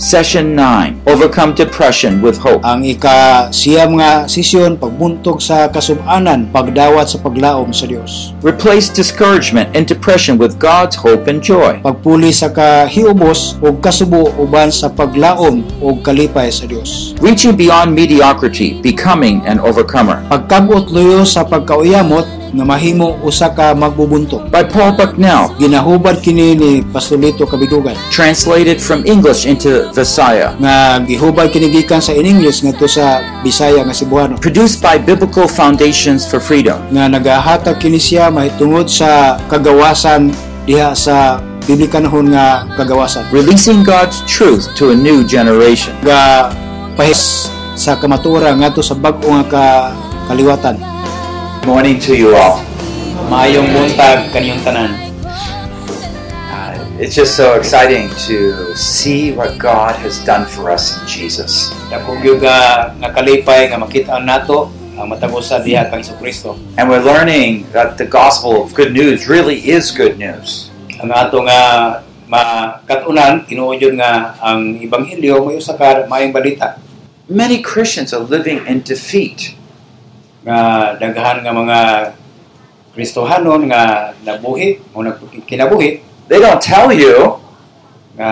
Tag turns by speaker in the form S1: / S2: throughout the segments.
S1: Session 9, Overcome Depression with Hope.
S2: Ang ika siyam nga sisyon, pagbuntog sa kasum-anan, pagdawat sa paglaom sa Dios.
S1: Replace discouragement and depression with God's hope and joy.
S2: Pagpuli sa kahiubos o kasubo uban sa paglaom o kalipay sa Dios.
S1: Reaching beyond mediocrity, becoming an overcomer.
S2: Pagkabot luyo sa pagkauyamot nga mahimo usa ka magbubuntog.
S1: By Paul Bucknell,
S2: Ginahubad kini ni Pastolito Kabidugan
S1: translated from English into Visaya.
S2: nga gihubad kini gikan sa in English ngadto sa Bisaya nga Cebuano.
S1: Produced by Biblical Foundations for Freedom.
S2: nga nagahatag kini siya mahitungod sa kagawasan diha sa biblikanhon nga kagawasan
S1: Releasing God's truth to a new generation.
S2: nga pahis sa kamatura ngadto sa bag-o nga ka- kaliwatan
S1: Morning to you all.
S3: Maayong buntag kaniyong tanan.
S1: Uh, It's just so exciting to see what God has done for us in Jesus.
S3: Dako gyud nga nga kalipay nga makita nato ang matag usa diha kang Kristo.
S1: And we're learning that the gospel of good news really is good news.
S3: Ang ato nga makatunan tinuod yun nga ang ebanghelyo may usa ka maayong balita
S1: Many Christians are living in defeat.
S3: nga daghan nga mga Kristohanon nga nabuhi o nagkinabuhi
S1: They don't tell you,
S3: nga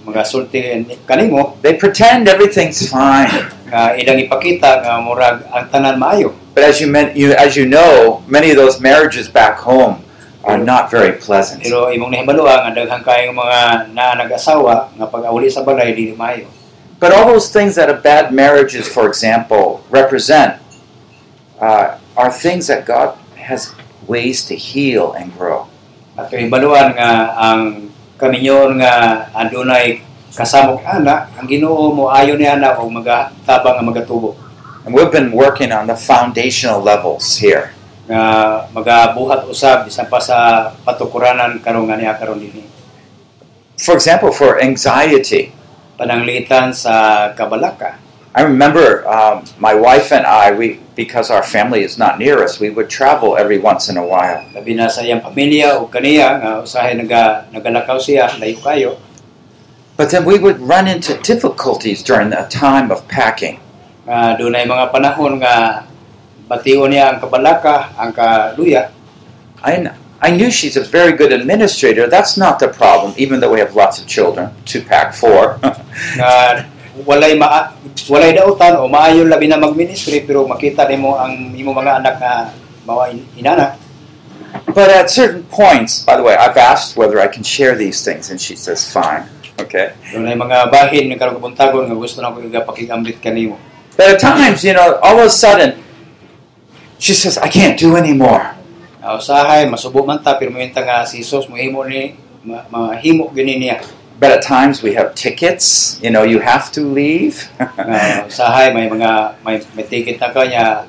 S3: mga sulti kanimo
S1: they pretend everything's fine.
S3: nga ilang ipakita nga murag ang tanan maayo
S1: But as you, meant, you, as you know, many of those marriages back home are not very pleasant.
S3: pero imong nahibaloa nga daghang kayong mga naa nag-asawa nga pag auli sa balay dili maayo
S1: But all those things that a bad marriages, for example, represent uh, are things that God has ways to heal and grow.
S3: At kahibaluan nga ang kaminyon nga adunay kasamok ana ang Ginoo mo ayo ni ana og magatabang nga magatubo
S1: And we've been working on the foundational levels here.
S3: nga magabuhat usab bisan pa sa patukuranan karon nga niya karon dinhi
S1: For example, for anxiety,
S3: pananglitan sa kabalaka
S1: I remember um, my wife and I, we, because our family is not near us, we would travel every once in a while.
S3: labi na sa iyang pamilya o kaniya nga usahay naga nagalakaw siya layo kayo
S1: But then we would run into difficulties during the time of packing.
S3: nga dunay mga panahon nga bation niya ang kabalaka ang kaluya
S1: I, kn- I knew she's a very good administrator. That's not the problem, even though we have lots of children, two pack four.
S3: nga walay ma walay dautan o maayo labi na magministry pero makita nimo ang imo mga anak nga mawa in- inana
S1: but at certain points, by the way, I've asked whether I can share these things, and she says, fine. Okay.
S3: dunay mga bahin nga karong buntagon nga gusto na ko nga pakigambit kanimo
S1: But at times, you know, all of a sudden, she says, I can't do anymore.
S3: nga usahay masubo man ta pero minta nga si Jesus mohimo ni ma- mahimo gini niya
S1: But at times, we have tickets. You know, you have to leave.
S3: nga usahay may mga may, may ticket na ka niya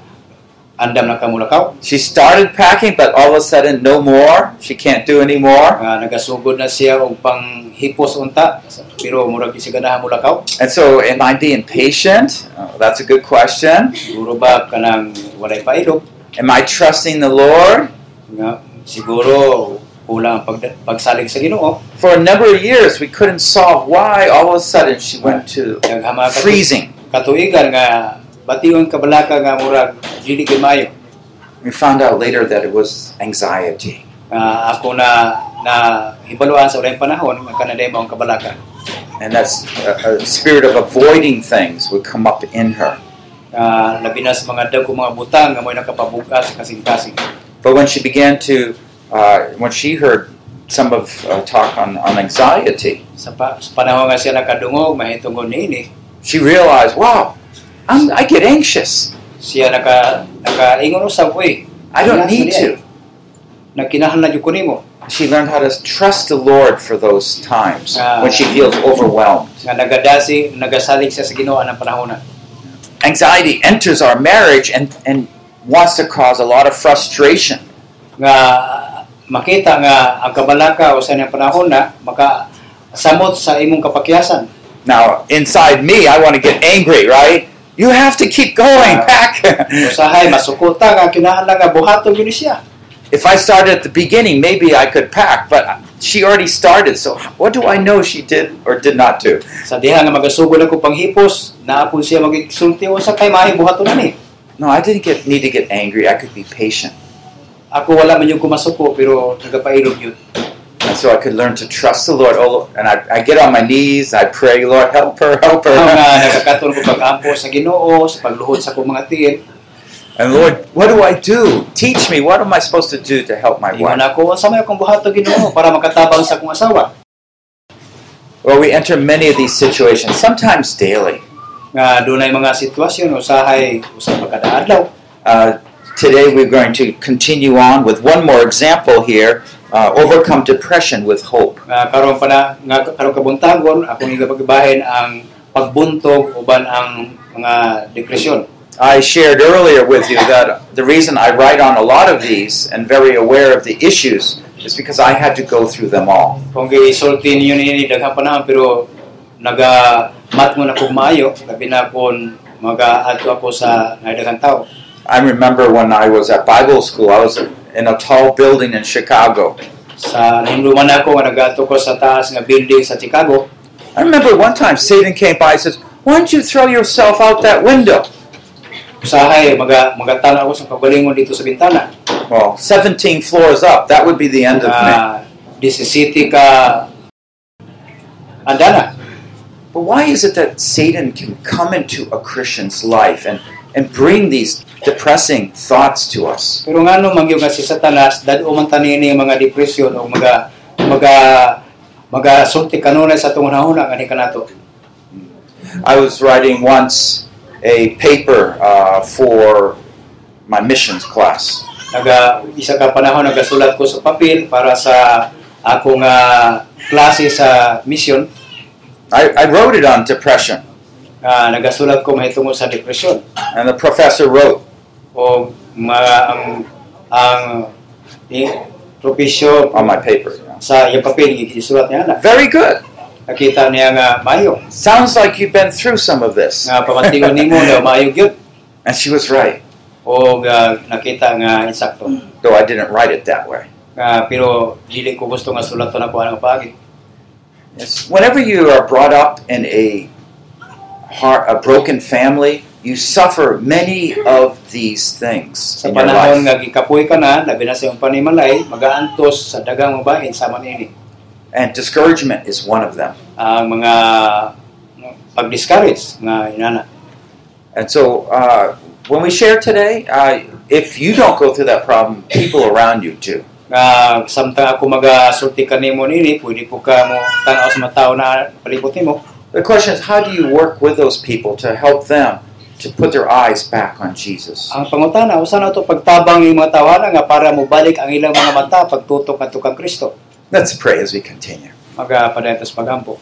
S3: andam na ka mulakaw
S1: she started packing, but all of a sudden, no more. She can't do anymore.
S3: nga Ah, nagasugod na siya og panghipos unta pero murag si ganahan mulakaw
S1: And so, am I being patient? Oh, that's a good question.
S3: siguro ba kanang walay pailog
S1: Am I trusting the Lord?
S3: nga siguro kulang ang pag, pagsalig sa Ginoo
S1: For a number of years, we couldn't solve why all of a sudden she went to
S3: naghama ka
S1: freezing.
S3: katuigan nga bation kabalaka nga murag dili kay maayo
S1: We found out later that it was anxiety.
S3: nga Ah, ako na na hibaluan sa ulang panahon nga kana day ang kabalaka
S1: And that's a, a spirit of avoiding things would come up in her.
S3: nga Ah, labi na sa mga dagko mga butang nga moy nakapabugas kasing-kasing
S1: But when she began to, uh, when she heard some of uh, talk on, on anxiety,
S3: sa, pa, sa panahon nga siya nakadungog mahitungon niini
S1: she realized, wow, I'm, I get anxious.
S3: siya naka nakaingon usab uy
S1: I don't need to.
S3: nakinahanglan jud ko nimo
S1: She learned how to trust the Lord for those times when she feels overwhelmed.
S3: nga nagadasi nagasalig siya sa Ginoo anang panahon
S1: anxiety enters our marriage and, and wants to cause a lot of frustration.
S3: nga makita nga ang kabalaka o sa niyang panahon na makasamot sa imong kapakyasan.
S1: Now, inside me, I want to get angry, right? You have to keep going,
S3: Yeah.
S1: pack.
S3: Usahay, masukuta nga kinahanglan nga buhaton yun siya.
S1: if I started at the beginning, maybe I could pack, but she already started, so what do I know she did or did not do?
S3: Sa diha nga magasugod ako panghipos, naapon siya magigsulti o sa kay mahibuhaton ani.
S1: No, I didn't get need to get angry. I could be patient.
S3: Ako wala man yung kumasuko pero nagapainom yun.
S1: And so I could learn to trust the Lord. Oh, Lord- and I, I get on my knees, I pray, Lord, help her, help her.
S3: Ang nga nagkakaton ko pag-ampo sa Ginoo, sa pagluhod sa kong mga tiin.
S1: And Lord, what do I do? Teach me, what am I supposed to do to help my
S3: Ingon
S1: wife?
S3: ako, sa may akong buhato Ginoo para makatabang sa akong asawa.
S1: Well, we enter many of these situations, sometimes daily.
S3: Nga dunay mga sitwasyon usahay usa pa kada adlaw.
S1: Uh, today we're going to continue on with one more example here uh, overcome depression with hope.
S3: nga karon pa na nga karon kabuntagon akong igapagibahin ang pagbuntog uban ang mga depresyon.
S1: I shared earlier with you that the reason I write on a lot of these and very aware of the issues is because I had to go through them all.
S3: Kung gisulti ninyo ni daghang panahon pero naga mat mo na kog maayo labi na kon maga ato ako sa daghang tao.
S1: I remember when I was at Bible school, I was in a tall building in Chicago.
S3: Sa hinduman ako nga nagato ko sa taas nga building sa Chicago,
S1: I remember one time Satan came by and says, Why don't you throw yourself out that window?
S3: usahay maga magatana ako sa pagalingon dito sa bintana.
S1: Well, 17 floors up, that would be the end of me.
S3: na disisiti ka andana.
S1: But why is it that Satan can come into a Christian's life and, and bring these depressing thoughts to us?
S3: Pero nga no mangyo nga si Satanas dad man tanini ang mga depression o mga mga mga sulti kanunay sa tungod huna nga kanato.
S1: I was writing once a paper uh, for my missions class.
S3: Naga isa ka panahon nagasulat ko sa papel para sa akong ah, klase sa mission
S1: I, I wrote it on depression,
S3: nga nagasulat ko mahitungod sa depression
S1: and the professor wrote,
S3: o mga ang ang eh, propisyo
S1: on my paper. you know.
S3: sa iyang papel gisulat niya na
S1: Very good.
S3: nakita niya nga mayo
S1: Sounds like you've been through some of this.
S3: nga pamatingon nimo na maayog yun
S1: and she was right,
S3: o nga nakita nga insakto
S1: though I didn't write it that way.
S3: nga Ah, pero dili ko gusto nga sulaton ako ang pagi
S1: Yes. Whenever you are brought up in a heart, a broken family, you suffer many of these things in
S3: sa
S1: your life.
S3: panahon nga gikapoy ka na labi na sa iyong panimalay magaantos sa dagang mabahin sama nini
S1: and discouragement is one of them.
S3: ang mga pag-discourage nga inana
S1: And so, uh, when we share today, uh, if you don't go through that problem, people around you do.
S3: nga samtang ako magasulti ka nimo nini pwede po ka mo tanaw sa mga tao na palipot nimo
S1: The question is, how do you work with those people to help them to put their eyes back on Jesus?
S3: ang pangutana usa na to pagtabang ng mga tawana nga para mobalik ang ilang mga mata pagtutok adto kang Kristo
S1: Let's pray as we continue.
S3: magapadayon pagampo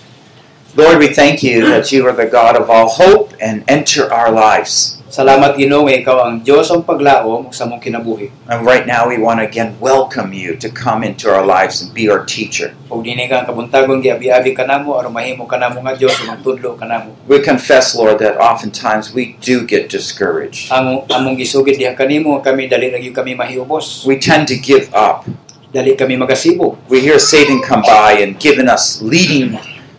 S1: Lord, we thank you that you are the God of all hope and enter our lives.
S3: Salamat Ginoo nga ikaw ang Dios ang paglaom ug sa among kinabuhi.
S1: And right now, we want to again welcome you to come into our lives and be our teacher.
S3: Ug dinhi ka ang kabuntagon giabi-abi kanamo aron mahimo kanamo nga Dios ug magtudlo kanamo.
S1: We confess, Lord, that oftentimes we do get discouraged.
S3: Ang among gisugid diha kanimo kami dali ra gyud kami mahiubos.
S1: We tend to give up.
S3: Dali kami magasibo.
S1: we hear Satan come by and giving us leading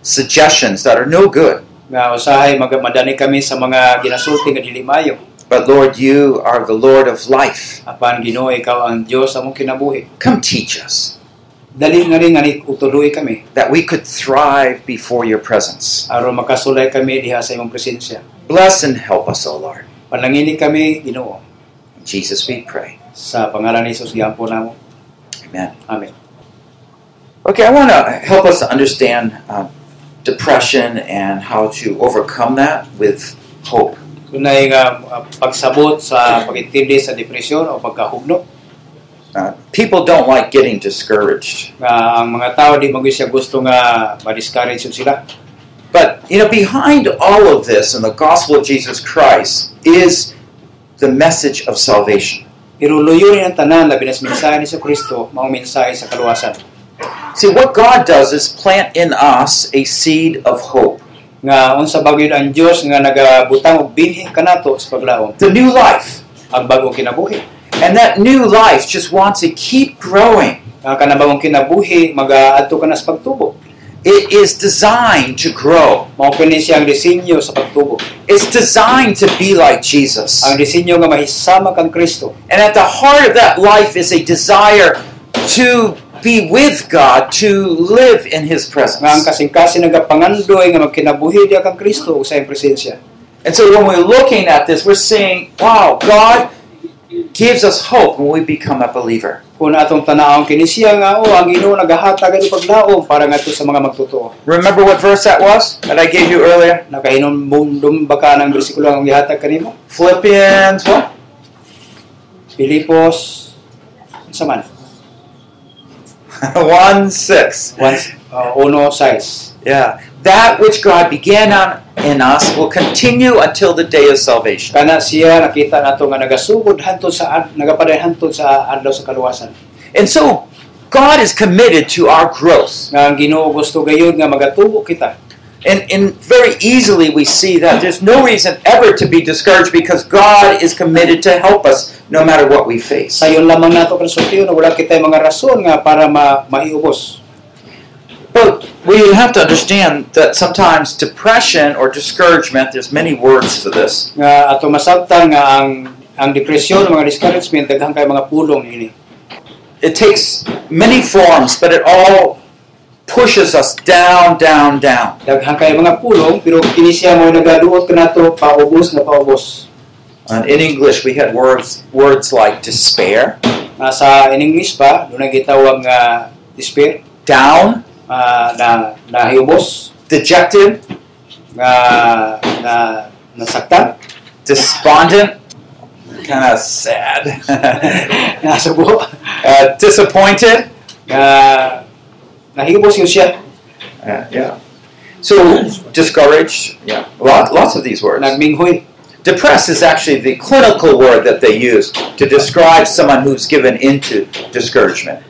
S1: suggestions that are no good.
S3: Nga usahay magamadani kami sa mga ginasulti nga dili maayo.
S1: But Lord, you are the Lord of life.
S3: Apan Ginoo ikaw ang Dios sa among kinabuhi.
S1: Come teach us
S3: Dali nga rin nga ni- utuloy kami
S1: that we could thrive before your presence.
S3: aron makasulay kami diha sa imong presensya.
S1: Bless and help us, O Lord.
S3: Panangini kami Ginoo
S1: In Jesus we pray.
S3: sa pangalan ni Hesus giampo namo.
S1: Amen.
S3: Amen.
S1: Okay, I want to help us to understand uh, depression and how to overcome that with hope.
S3: Tunay nga uh, pagsabot sa pagintindi sa depresyon o pagkahugno
S1: Uh, people don't like getting discouraged.
S3: nga ang mga tao di magyo siya gusto nga ma-discourage yun sila.
S1: But you know, behind all of this and the gospel of Jesus Christ is the message of salvation.
S3: Pero luyo rin ang tanan labi na sa mensahe ni sa Kristo, maong mensahe sa kaluwasan.
S1: See, what God does is plant in us a seed of hope,
S3: Nga unsa bagyo ang Dios nga nagabutang og binhi kanato sa paglaom,
S1: the new life.
S3: ang bagong kinabuhi.
S1: And that new life just wants to keep growing.
S3: Ang kanabawang kinabuhi, mag-aadto ka na sa pagtubo.
S1: It is designed to grow.
S3: Mao kini siyang disenyo sa pagtubo.
S1: It's designed to be like Jesus.
S3: Ang disenyo nga mahisama kang Kristo.
S1: And at the heart of that life is a desire to be with God, to live in His
S3: Nga ang
S1: presence.
S3: kasing-kasi nagapangandoy nga magkinabuhi diya kang Kristo sa iyang presensya.
S1: And so when we're looking at this, we're seeing, wow, God gives us hope when we become a believer.
S3: Kung atong tanaw kini siya nga o ang Ginoo nagahatag ang paglaom para nga to sa mga magtotoo.
S1: Remember what verse that was that I gave you earlier?
S3: Nakahinom bundom baka ng bersikulo ang gihatag kanimo.
S1: Philippians what?
S3: Pilipos ano sa man
S1: 1 6.
S3: once uh, uno size.
S1: Yeah. That which God began on in us will continue until the day of salvation.
S3: Kana siya nakita nato nga nagasugod hantod sa ad, nagapaday hantod sa adlaw sa kaluwasan.
S1: And so God is committed to our growth.
S3: Nga ang Ginoo gusto gayud nga magatubo kita.
S1: And, and very easily we see that there's no reason ever to be discouraged because God is committed to help us no matter what we face.
S3: Sayon lamang nato konsultiyo na wala kitay mga rason nga para ma maiubos.
S1: But we have to understand that sometimes depression or discouragement, there's many words for this,
S3: Nga ato masabtan nga ang ang depresyon mga discouragement daghang kay mga pulong ini.
S1: it takes many forms, but it all pushes us down, down, down.
S3: Daghang kay mga pulong pero kini siya mo nagaduot kanato paubos na paubos.
S1: And in English, we had words, words like despair,
S3: Nga sa in English pa dunay gitawag nga despair
S1: down,
S3: ah, na nahiubos
S1: dejected,
S3: nga na nasaktan,
S1: despondent, kind of sad,
S3: nasubo,
S1: uh, disappointed.
S3: nga nahibos yun siya.
S1: Uh, yeah. So discouraged. Yeah. Lot, lots of these words.
S3: Nagminghoy.
S1: Depressed is actually the clinical word that they use to describe someone who's given into discouragement.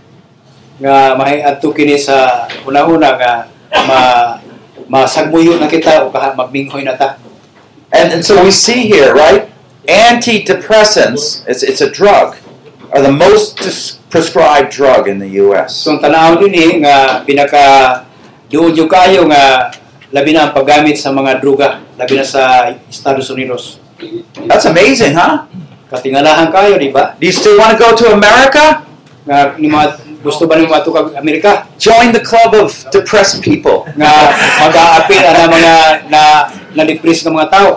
S3: Nga mahiadto kini sa una-una nga ma masagmuyo na kita o kaha magminghoy na ta.
S1: And, and so we see here, right? Antidepressants, it's, it's a drug, are the most dis- prescribed drug in the U.S.
S3: So ang tanaw din eh, nga pinaka doon yung kayo nga labi na ang paggamit sa mga druga, labi na sa Estados Unidos.
S1: That's amazing, huh?
S3: Katingalahan kayo, di ba?
S1: Do you still want to go to America?
S3: Nga ni mga, gusto ba ni mga tukag Amerika?
S1: Join the club of depressed people.
S3: nga mag-aapil ang mga na na-depress ng mga tao.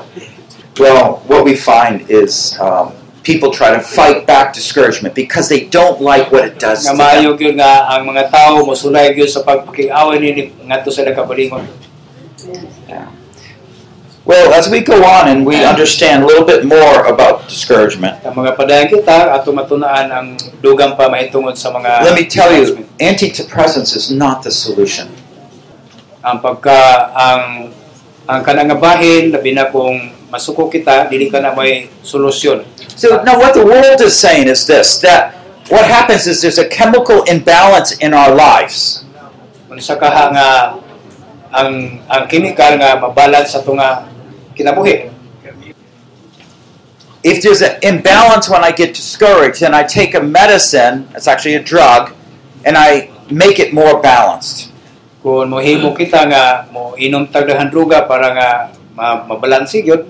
S1: Well, what we find is um, people try to fight back discouragement because they don't like what it does.
S3: Nga
S1: To them.
S3: maayo yun nga ang mga tao mosulay yun sa pagpakiaway ni nga to sa nagkabalingon.
S1: Well, as we go on and we understand a little bit more about discouragement,
S3: Ang mga padayan kita at matunaan ang dugang pa maitungod sa mga
S1: let me tell you, antidepressants is not the solution.
S3: ang pagka ang ang kanangabahin labi na kung masuko kita dili ka na may solusyon.
S1: So now, what the world is saying is this: that what happens is there's a chemical imbalance in our lives,
S3: Unsa kaha nga ang ang chemical nga mabalance sa tunga kinabuhi.
S1: if there's an imbalance when I get discouraged and I take a medicine, it's actually a drug, and I make it more balanced.
S3: kung mohimo kita nga mo inom tagdahan druga para nga ma mabalansi gyud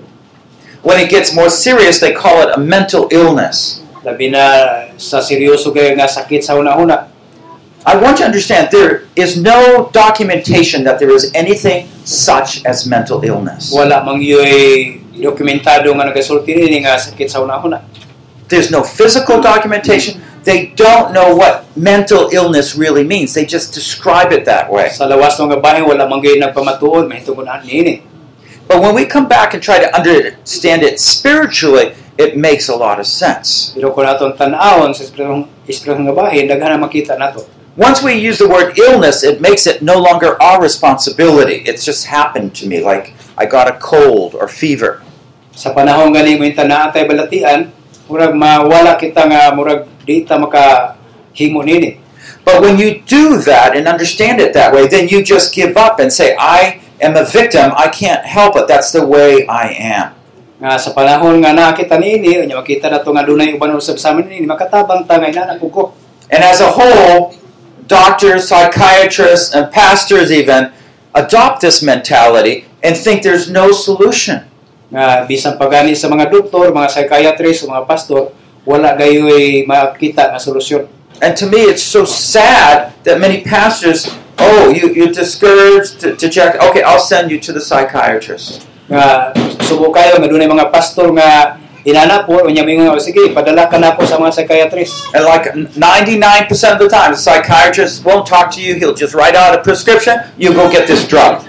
S1: When it gets more serious, they call it a mental illness.
S3: labi na sa seryoso kay nga sakit sa una-una
S1: I want you to understand there is no documentation that there is anything such as mental illness.
S3: wala mang yoy dokumentado nga nagasulti ni nga sakit sa una-una
S1: There's no physical documentation. They don't know what mental illness really means. They just describe it that way.
S3: sa lawas ng nga bahin wala man gyud nagpamatuod mahitungod na niini
S1: But when we come back and try to understand it spiritually, it makes a lot of sense.
S3: pero kung atong tan-awon sa espresong espresong nga bahin daghan na makita nato
S1: Once we use the word illness, it makes it no longer our responsibility. It's just happened to me, like I got a cold or fever.
S3: sa panahon gani mo na atay balatian murag mawala kita nga murag di ta maka himo nini
S1: But when you do that and understand it that way, then you just give up and say, I am a victim. I can't help it. That's the way I am.
S3: nga sa panahon nga nakita niini unya makita na to nga dunay uban usab sa amin niini makatabang tangay na ko ko
S1: And as a whole, doctors, psychiatrists, and pastors even adopt this mentality and think there's no solution.
S3: nga bisan pagani sa mga doktor mga psychiatrist mga pastor wala gayoy makita nga solusyon
S1: And to me, it's so sad that many pastors, oh, you, you're discouraged, de- dejected. Okay, I'll send you to the psychiatrist.
S3: nga subo kayo nga dunay mga pastor nga inana po unya may nga "O, sige padala ka na po sa mga psychiatrist
S1: And like 99% of the time, the psychiatrist won't talk to you. He'll just write out a prescription. You go get this drug.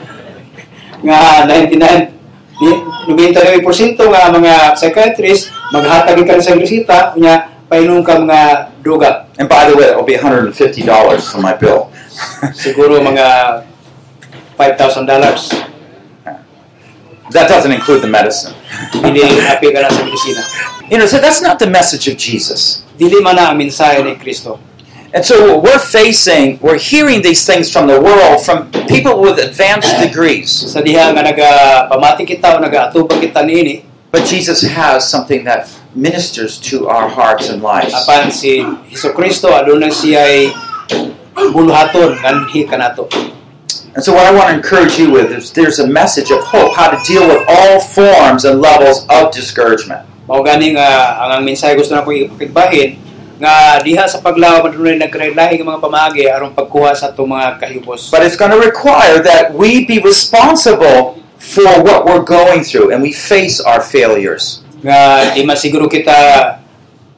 S3: nga 99 Nah, ni- 99% nga mga psychiatrist maghatag ka sa resita unya painom ka mga dugat
S1: And by the way, it'll be $150 for my bill.
S3: siguro mga 5,000 dollars.
S1: that doesn't include the medicine.
S3: Hindi happy ka na sa medisina.
S1: You know, so that's not the message of Jesus.
S3: Dili man na ang mensahe ni Kristo.
S1: And so we're facing, we're hearing these things from the world, from people with advanced degrees.
S3: Sa diha nga nagapamati kita o nagaatubang kita niini,
S1: But Jesus has something that ministers to our hearts and lives.
S3: apan si Hesus Kristo adunay siya'y buluhaton nganhi kanato.
S1: And so what I want to encourage you with is there's a message of hope, how to deal with all forms and levels of discouragement.
S3: Mao gani nga ang ang mensahe gusto na ko ipakigbahin nga diha sa paglawa madunay nagkalahi nga mga pamaagi aron pagkuha sa atong mga kahibos.
S1: But it's going to require that we be responsible for what we're going through and we face our failures.
S3: nga di man siguro kita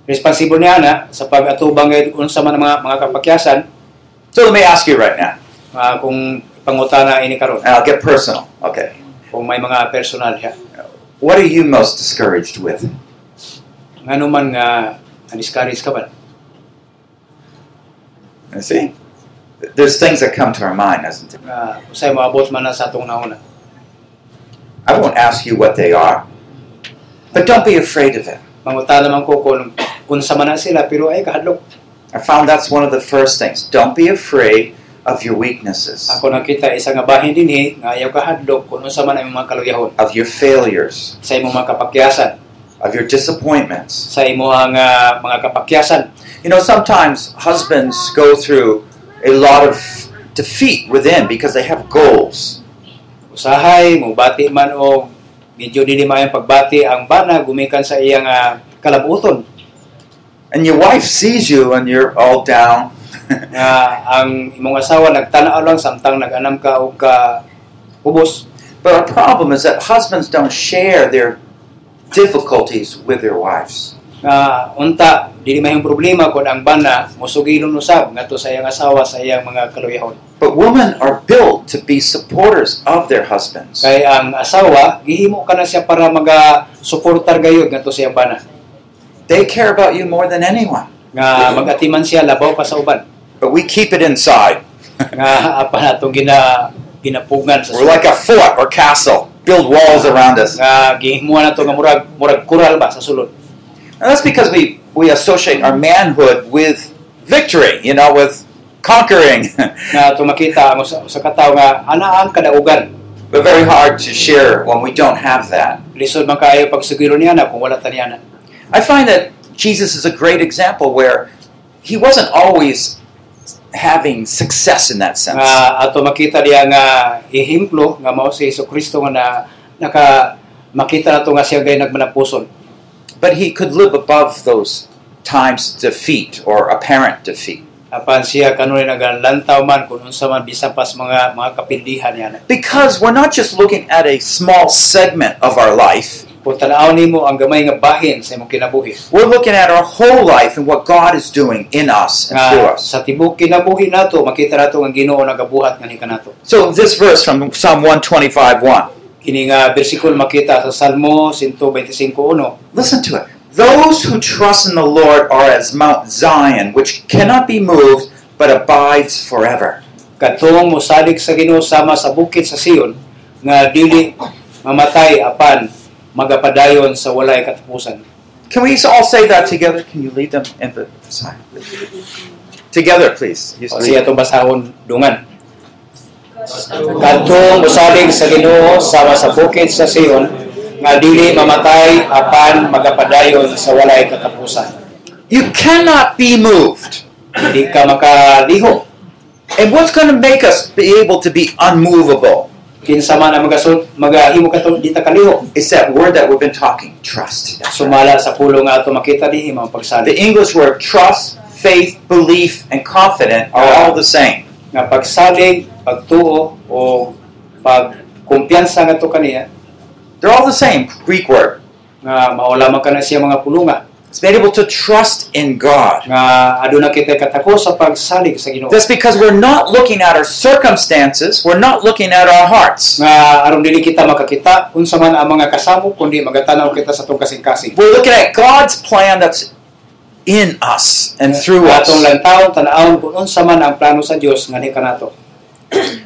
S3: responsible niya na sa pag-atubang ngayon unsa man ang mga mga kapakyasan
S1: So let me ask you right now,
S3: ah, kung pangutana ini karon
S1: and I'll get personal. Okay.
S3: kung may mga personal ya
S1: What are you most discouraged with?
S3: ngano man nga discourage ka ba
S1: You see? There's things that come to our mind, isn't there?
S3: nga usay moabot man na sa atong nauna
S1: I won't ask you what they are, but don't be afraid of it.
S3: mangutana man ko kung unsa man na sila pero ay kahadlok
S1: I found that's one of the first things. Don't be afraid of your weaknesses,
S3: ako nakita isa nga bahin dinhi nga ayaw kahadlok kung unsa man ang imong mga kaluyahon
S1: of your failures,
S3: sa imong mga kapakyasan
S1: of your disappointments.
S3: sa imong ah, mga kapakyasan
S1: You know, sometimes husbands go through a lot of defeat within because they have goals.
S3: usahay mo bati man o medyo dili maayong pagbati ang bana gumikan sa iyang ah, kalabuton
S1: And your wife sees you and you're all down.
S3: nga ang imong asawa nagtanaw lang samtang nag-anam ka og ka ubos
S1: but our problem is that husbands don't share their difficulties with their wives.
S3: nga unta dili mahimong problema kung ang bana mosugilon usab ngadto sa iyang asawa sa iyang mga kaluyahon
S1: But women are built to be supporters of their husbands.
S3: kay ang asawa gihimo ka na siya para maga suportar gayud ngadto sa iyang bana
S1: They care about you more than anyone.
S3: nga magatiman siya labaw pa sa uban
S1: But we keep it inside.
S3: nga apa na itong gina ginapugan sa
S1: We're like a fort or castle, build walls around us.
S3: nga gihimuan nato nga murag murag kural ba sa sulod
S1: And that's because we, we associate our manhood with victory, you know, with conquering.
S3: nga tumakita ang usa, usa ka tawo nga ana ang kadaugan
S1: but very hard to share when we don't have that.
S3: lisod man kaayo pagsugiro niya na kung wala ta niya na
S1: I find that Jesus is a great example where he wasn't always having success in that sense.
S3: nga ato makita diya nga ehemplo nga mao si Hesus Kristo nga na, naka makita nato nga siya gay nagmanapuson
S1: But he could live above those times defeat or apparent defeat
S3: apan siya kanunay nagalantaw man kung unsa man bisan pas mga mga kapindihan niya na
S1: because we're not just looking at a small segment of our life
S3: kung tanaw nimo ang gamay nga bahin sa imong kinabuhi
S1: we're looking at our whole life and what god is doing in us and through
S3: nga
S1: us
S3: sa tibuok kinabuhi nato makita nato nga Ginoo nagabuhat nga kanato
S1: so this verse from psalm 125 1
S3: Kini nga bersikul makita sa Salmo 125.1.
S1: listen to it those who trust in the lord are as mount zion which cannot be moved but abides forever
S3: Katong mosalig sa Ginoo sama sa bukid sa Sion nga dili mamatay apan magapadayon sa walay katapusan.
S1: can we all say that together can you lead them in the sign together please You
S3: O
S1: lead.
S3: siya itong basahon dungan. Katong mosalig sa Ginoo sama sa bukid sa Sion nga dili mamatay apan magapadayon sa walay katapusan.
S1: You cannot be moved.
S3: Hindi ka makalihok.
S1: And what's going to make us be able to be unmovable
S3: Kinsa man ang magasul magahimo ka tong dita kalihok.
S1: It's that word that we've been talking trust.
S3: Sumala sa pulong nga ato makita dihi mga
S1: The
S3: pagsali.
S1: English word trust, faith, belief, and confident are all the same.
S3: Nga pagsalig, pagtuo o pagkumpiyansa nga to kaniya
S1: They're all the same Greek word.
S3: nga maulaman ka na siya mga pulunga
S1: It's being able to trust in God.
S3: nga aduna kita katako sa pagsalig sa Ginoo.
S1: That's because we're not looking at our circumstances, we're not looking at our hearts.
S3: nga aron dili kita makakita unsa man ang mga kasamo kundi magatanaw kita sa tong kasing-kasing.
S1: We're looking at God's plan that's in us and through us.
S3: atong lantaw tan-awon kung unsa man ang plano sa Dios nga nika nato.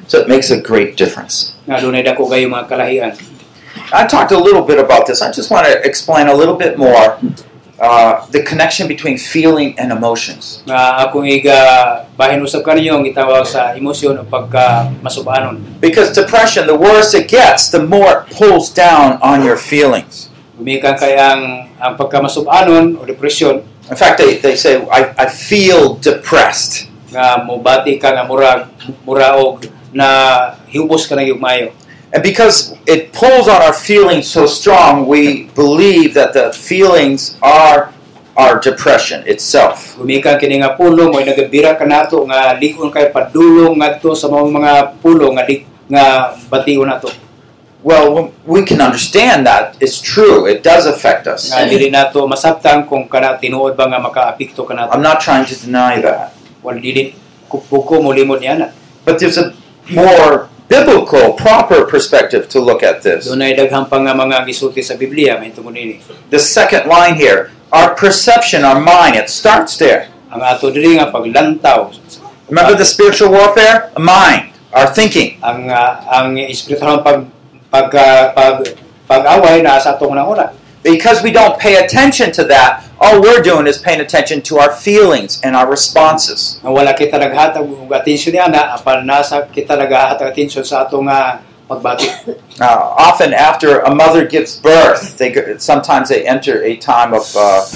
S1: So it makes a great difference.
S3: Nga dunay dako kayo mga kalahian.
S1: I talked a little bit about this. I just want to explain a little bit more uh, the connection between feeling and emotions.
S3: Nga akong iga bahin usab kaninyo ang gitawag sa emosyon o pagka masubanon.
S1: Because depression, the worse it gets, the more it pulls down on your feelings.
S3: Gumikan kay ang ang pagka masubanon o depresyon
S1: In fact, they, they say, I, I feel depressed.
S3: nga mobati ka nga murag muraog na hubos ka na yugmayo.
S1: And because it pulls on our feelings so strong, we believe that the feelings are our depression itself.
S3: Gumikan kini nga pulo mo'y nagabira ka nato nga ligon kay padulong ngadto sa mga mga pulo nga di, nga batiyon nato.
S1: Well, we can understand that. It's true. It does affect us.
S3: Nga dili nato masabtan kung kana tinuod ba nga makaapekto ka nato.
S1: I'm not trying to deny that.
S3: Wal dili kupuko mo limod niya na.
S1: But there's a more biblical, proper perspective to look at this.
S3: Doon ay daghang pa nga mga gisulti sa Biblia may tungod ini.
S1: The second line here, our perception, our mind, it starts there.
S3: Ang ato diri nga paglantaw
S1: Remember the spiritual warfare? Mind, our thinking.
S3: ang ah, ang espiritual pag pag ah, pag pag-away na sa atong una.
S1: Because we don't pay attention to that, all we're doing is paying attention to our feelings and our responses.
S3: Nga wala kita naghatag og atensyon niya na apan nasa kita naghatag atensyon sa atong nga pagbati.
S1: Now, often after a mother gives birth, they go- sometimes they enter a time of uh,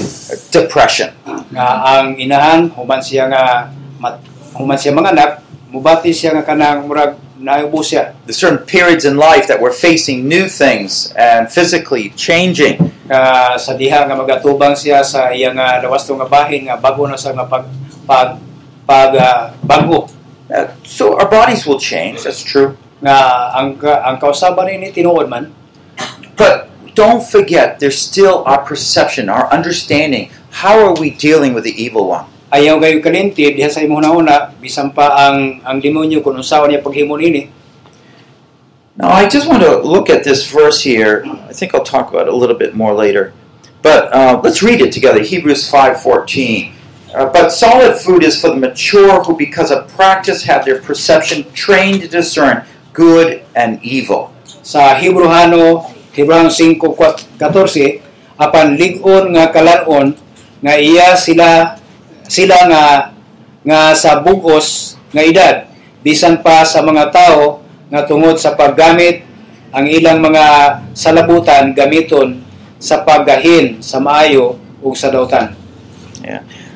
S1: depression.
S3: nga ang inahan human siya nga mat, human siya mga anak mubati siya nga kanang murag naubos siya
S1: There's certain periods in life that we're facing new things and physically changing.
S3: nga sa diha nga magatubang siya sa iya nga lawasto nga bahin nga bago na sa nga pag pag pag ah, bago
S1: Uh, so our bodies will change. That's true.
S3: nga ang ka- ang kausaban ni tinuod man
S1: But don't forget, there's still our perception, our understanding. How are we dealing with the evil one?
S3: ayaw kayo kalinti diha sa imong una bisan pa ang ang demonyo kun unsaon niya paghimo ini
S1: Now, I just want to look at this verse here. I think I'll talk about it a little bit more later. But uh, let's read it together. Hebrews 5.14. Uh, but solid food is for the mature who, because of practice, have their perception trained to discern good and evil.
S3: sa Hebrohano Hebron 5:14 apan ligon nga kalanon nga iya sila sila nga nga sa bugos nga edad bisan pa sa mga tao nga tungod sa paggamit ang ilang mga salabutan gamiton sa paggahin sa maayo ug sa dautan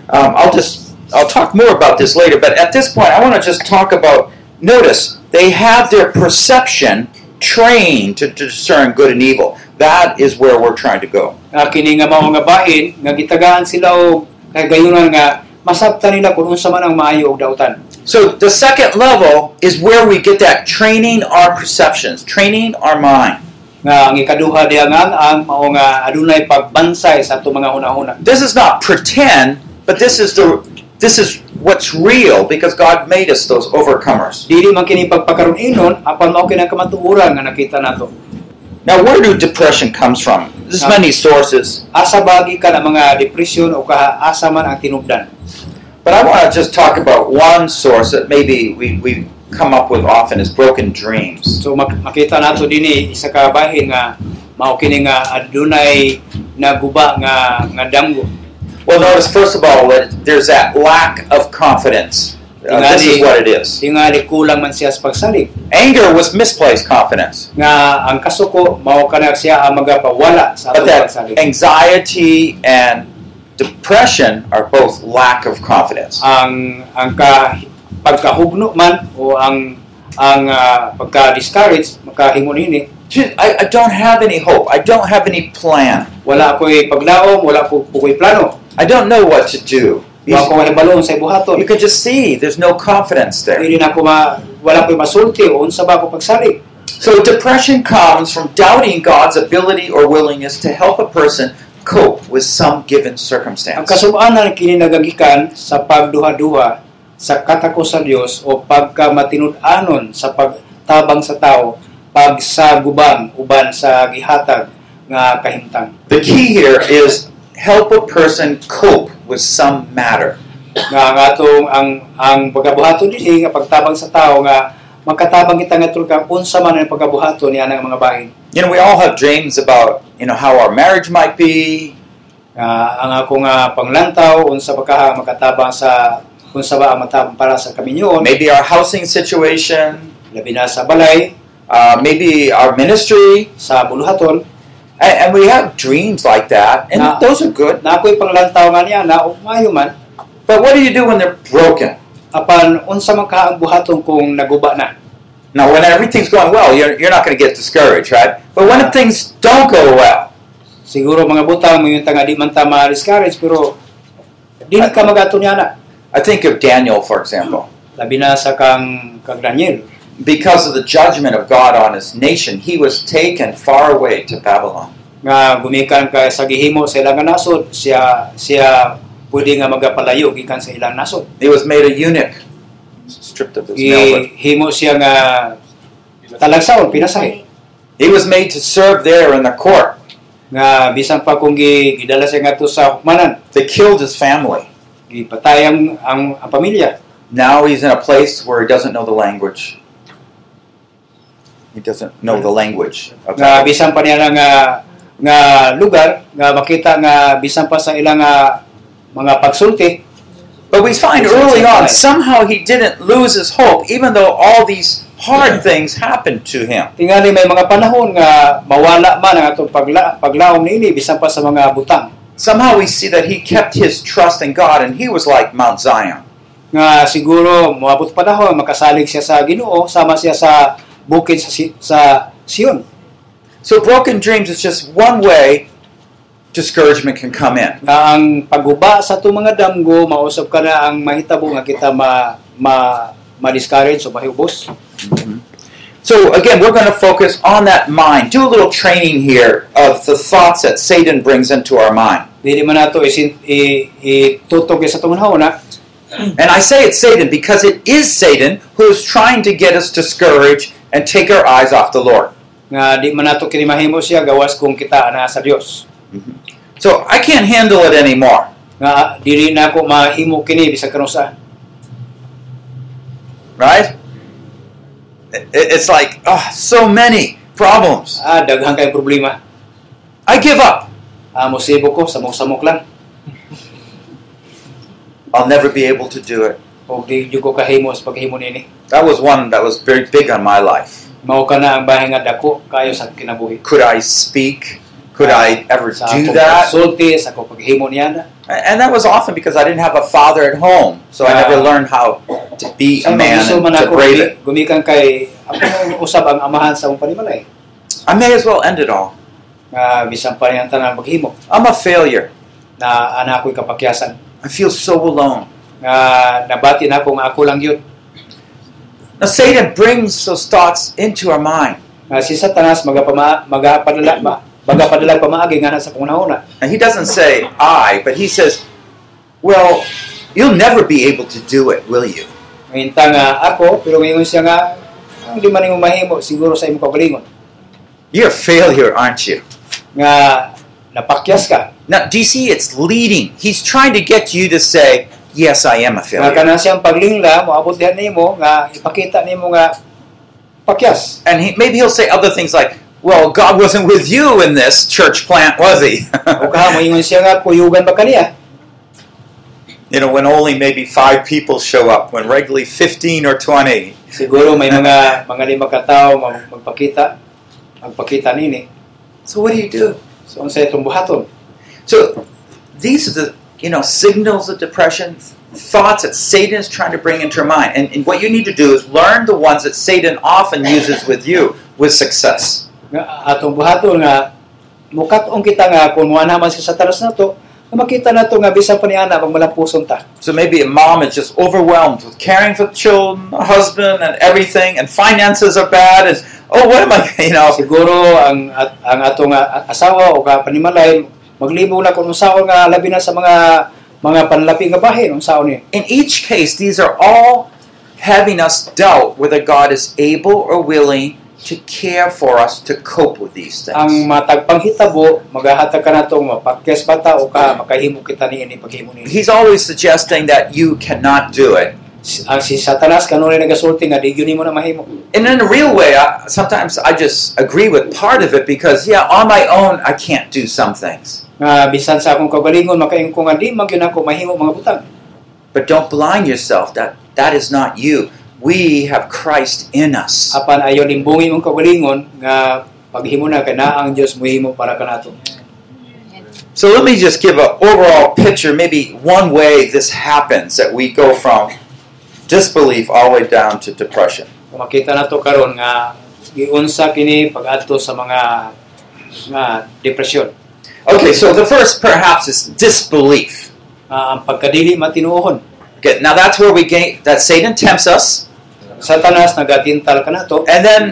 S1: Um, I'll just I'll talk more about this later. But at this point, I want to just talk about. Notice they have their perception trained to, to discern good and evil. That is where we're trying to go.
S3: nga kini nga mao nga bahin nga gitagaan sila og kagayunan nga masabtan nila kung unsa man ang maayo ug dautan
S1: So the second level is where we get that training our perceptions, training our mind.
S3: nga ang ikaduha diha nga ang mao nga adunay pagbansay sa ato mga hunahuna.
S1: This is not pretend, but this is the this is what's real because God made us those overcomers.
S3: Dili man kini pagpakaron inon apan mao kini ang kamatuoran nga nakita nato.
S1: Now, where do depression comes from? There's many sources.
S3: Asa bagi ka ng mga depression o kaasa man ang tinubdan.
S1: But I want to just talk about one source that maybe we, we come up with often is broken dreams.
S3: So mak- makita nato dinhi isa ka bahin nga mao kini nga adunay naguba nga nga damgo.
S1: Well, notice first of all that there's that lack of confidence. Uh, this is what it is.
S3: Tingali kulang man siya sa pagsalig.
S1: Anger was misplaced confidence,
S3: Nga ang kasuko, mao ka na siya ang magapawala sa
S1: but
S3: atong
S1: that
S3: pagsalig.
S1: anxiety and depression are both lack of confidence.
S3: ang ang ka, pagkahugno man o ang ang ah, pagka-discourage, makahimo nini,
S1: I, I don't have any hope. I don't have any plan.
S3: wala ako'y paglaom, wala ko ko'y plano.
S1: I don't know what to do. You,
S3: Wa ko mahibaloon sa ibuhaton.
S1: you can just see there's no confidence there.
S3: Hindi na ako ma, wala ko'y masulti o unsa ba ako pagsalig.
S1: So depression comes from doubting God's ability or willingness to help a person cope with some given
S3: Ang
S1: circumstance.
S3: kasubaanan kini nagagikan sa pagduha-duha sa katako sa Dios o pagkamatinud-anon sa pagtabang sa tao, pagsagubang uban sa gihatag nga kahimtang.
S1: The key here is help a person cope with some matter.
S3: Nga ang atong ang ang pagkabuhaton dinhi nga pagtabang sa tao nga makatabang kita nga tulkang unsa man ang pagkabuhaton ni anang mga bahin.
S1: You know, we all have dreams about, you know, how our marriage might be,
S3: Nga ang ako nga panglantaw unsa ba ka makatabang sa unsa ba ang matabang para sa kaminyon,
S1: maybe our housing situation,
S3: labi na sa balay,
S1: uh, maybe our ministry.
S3: sa buluhaton,
S1: And, and we have dreams like that, and
S3: Ah.
S1: those are good.
S3: na ako'y panglantaw nga niya na o maayo man
S1: But what do you do when they're broken?
S3: apan unsa man ka ang buhaton kung naguba na
S1: Now, when everything's going well, you're, you're not going to get discouraged, right? But when
S3: Ah.
S1: things don't go well,
S3: siguro mga butang mo yung tanga di man ta ma-discourage pero di ka magato niya na
S1: I think of Daniel, for example.
S3: labi na sa kang kang Daniel
S1: Because of the judgment of God on his nation, he was taken far away to Babylon.
S3: nga gumikan ka sa gihimo sa ilang nga nasod siya siya pwede nga magapalayo gikan sa ilang nasod
S1: He was made a eunuch, stripped of his manhood.
S3: gihimo siya nga talagsaon pinasahi
S1: He was made to serve there in the court.
S3: nga bisan pa kung gi- gidala siya nga to sa hukmanan
S1: They killed his family.
S3: gipatay ang, ang, ang pamilya
S1: Now he's in a place where he doesn't know the language. He doesn't know the language of Babylon.
S3: nga bisan pa niya na nga nga lugar nga makita nga bisan pa sa ilang nga mga pagsulti
S1: But we find early on, somehow he didn't lose his hope, even though all these hard things happened to him.
S3: tingali may mga panahon nga mawala man ang atong pagla paglaom niini bisan pa sa mga butang
S1: Somehow we see that he kept his trust in God and he was like Mount Zion.
S3: nga siguro moabot panahon makasalig siya sa Ginoo sama siya sa bukid sa, Si- sa Sion
S1: So broken dreams is just one way discouragement can come in.
S3: nga ang paguba sa atong mga damgo mausab ka na ang mahitabo nga kita ma ma ma-discourage o mahiubos
S1: So again, we're going to focus on that mind. Do a little training here of the thoughts that Satan brings into our mind.
S3: dili man nato isin i- itutog sa atong hauna
S1: And I say it's Satan because it is Satan who is trying to get us discouraged and take our eyes off the Lord.
S3: nga di man nato kini mahimo siya gawas kung kita naa sa Dios
S1: So I can't handle it anymore.
S3: nga dili na ako mahimo kini bisag karon sa
S1: Right? It- It's like, oh, so many problems.
S3: ah, daghang kay problema
S1: I give up.
S3: ah, mosibo ko samok-samok lang
S1: I'll never be able to do it.
S3: og di jud ko kahimo sa paghimo nini
S1: That was one that was very big on my life.
S3: mao ka na ang bahin nga dako kayo sa kinabuhi
S1: Could I speak? Could I ever
S3: sa
S1: do
S3: akong
S1: that?
S3: pagsulti sa akong paghimo niya na
S1: And that was often because I didn't have a father at home, so I
S3: Yeah.
S1: never learned how to be a man
S3: maglisod
S1: and to
S3: ako
S1: brave
S3: gumi-
S1: it.
S3: gumikan kay ako ang usab ang amahan sa akong panimalay
S1: I may as well end it all.
S3: nga bisan pa niya ang tanang paghimo
S1: I'm a failure.
S3: na ana ako'y kapakyasan
S1: I feel so alone.
S3: nga nabati na ako nga ako lang yun
S1: Now Satan brings those thoughts into our mind,
S3: nga si Satanas magapama magapadala ma magapadala pamaagi nga sa pangunahuna
S1: and he doesn't say I, but he says, "Well, you'll never be able to do it, will you?"
S3: ngayon ta nga ako pero ngayon siya nga ang di man nimo mahimo siguro sa imong kabalingon
S1: You're a failure, aren't you?
S3: nga napakyas ka
S1: Now, do you see? It's leading. He's trying to get you to say, "Yes, I am a
S3: nga
S1: failure,"
S3: kana siyang paglingla moabot diha nimo nga ipakita nimo nga pakyas
S1: and he, maybe he'll say other things like, "Well, God wasn't with you in this church plant, was He?"
S3: o kaha moingon siya nga kuyugan ba kaniya
S1: you know, when only maybe five people show up, when regularly 15 or 20.
S3: Siguro may mga mga lima ka tao mag- magpakita, magpakita nini.
S1: So what do you do?
S3: So unsay itong buhaton?
S1: So these are the, you know, signals of depression, thoughts that Satan is trying to bring into your mind. And, and what you need to do is learn the ones that Satan often uses with you with success.
S3: Nga atong buhaton nga mukat-on kita nga kung mo naman sa satanas na to, nga makita na to nga bisan pa ni ana pag malapuson ta.
S1: So maybe a mom is just overwhelmed with caring for children, a husband, and everything, and finances are bad. And oh, what am I, you know?
S3: Siguro ang at, ang atong ah, asawa o ka panimalay maglibo na kung usawa nga labi na sa mga mga panlapi nga bahin unsaon ni.
S1: In each case, these are all having us doubt whether God is able or willing to care for us to cope with these things.
S3: ang matagpang hitabo magahatag ka na uh, tong mapakyas bata o ka makahimo kita ni ini paghimo ni
S1: He's always suggesting that you cannot do it.
S3: Si- ang si Satanas kanunay nagasulti nga di yun mo na mahimo
S1: And in a real way, I, sometimes I just agree with part of it because, yeah, on my own, I can't do some things.
S3: nga bisan sa akong kagalingon makaingko nga di man gyud ako mahimo mga butang
S1: But don't blind yourself that that is not you. We have Christ in us.
S3: apan ayon limbungin mong kagalingon nga paghimo na kana ang Dios muhimo para kanato
S1: So let me just give an overall picture, maybe one way this happens that we go from disbelief all the way down to depression.
S3: Kung makita nato karon nga giunsa kini pag-adto sa mga nga depresyon
S1: Okay, so the first perhaps is disbelief.
S3: nga Ah, ang pagkadili matinuohon
S1: Okay, now that's where we gain that Satan tempts us,
S3: Satanas nagatintal kanato
S1: and then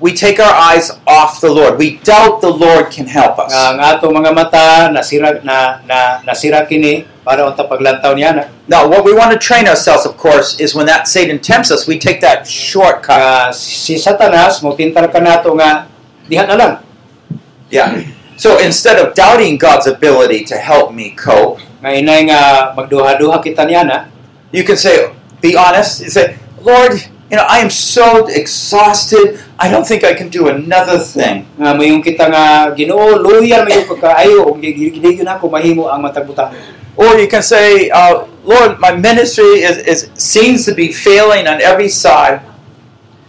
S1: we take our eyes off the Lord. We doubt the Lord can help us.
S3: nga ang ato mga mata nasira na, na nasira kini para unta paglantaw niya na
S1: Now, what we want to train ourselves, of course, is when that Satan tempts us, we take that shortcut.
S3: Nga si Satanas mo tintal kanato nga diha na lang
S1: Yeah. So instead of doubting God's ability to help me cope,
S3: nga inay nga magduha-duha kita niya na
S1: you can say, be honest, you say, Lord, you know, I am so exhausted. I don't think I can do another thing.
S3: nga mayong kita nga Ginoo loyal mayong pagkaayo ug gigidigyon ako mahimo ang matag butang
S1: Or you can say, uh, Lord, my ministry is, is seems to be failing on every side.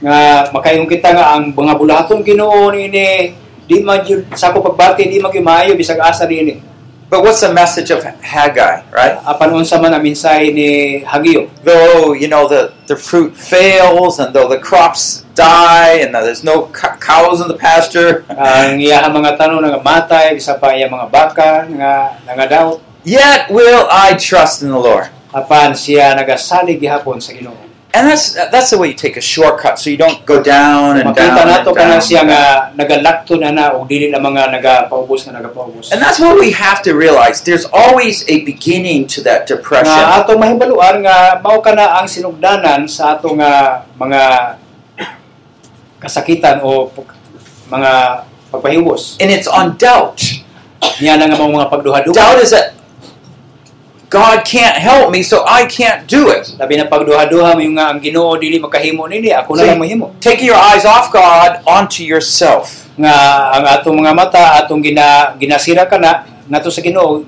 S3: nga makayong kita nga ang mga bulatong Ginoo niini di man yun- sa ko pagbati di man yun maayo bisag asa niini
S1: But what's the message of Haggai, right?
S3: apan unsa man ang mensahe ni Hagio
S1: Though you know the, the fruit fails, and though the crops die, and there's no co- cows in the pasture.
S3: ang iyahang mga tanong nga matay bisa pa iya mga baka nga nangadaot
S1: Yet will I trust in the Lord.
S3: apan siya nagasalig gihapon sa Ginoo
S1: And that's that's the way you take a shortcut, so you don't go down and down.
S3: makita nato
S1: and, down
S3: kana siya
S1: and down.
S3: nga nagalakto na na og dili na mga nagapaubos nga nagapaubos
S1: And that's what we have to realize. There's always a beginning to that depression.
S3: nga ato mahibaluan nga mao kana ang sinugdanan sa ato nga mga kasakitan o pag- mga pagpahiwos
S1: and it's on doubt.
S3: niya na nga mao mga pagduha-duha
S1: Doubt is that God can't help me, so I can't do it.
S3: labi na pagduha-duha mayo nga ang Ginoo dili makahimo nini ako na lang mahimo
S1: Taking your eyes off God onto yourself.
S3: nga ang atong mga mata atong gina, ginasira kana nato sa Ginoo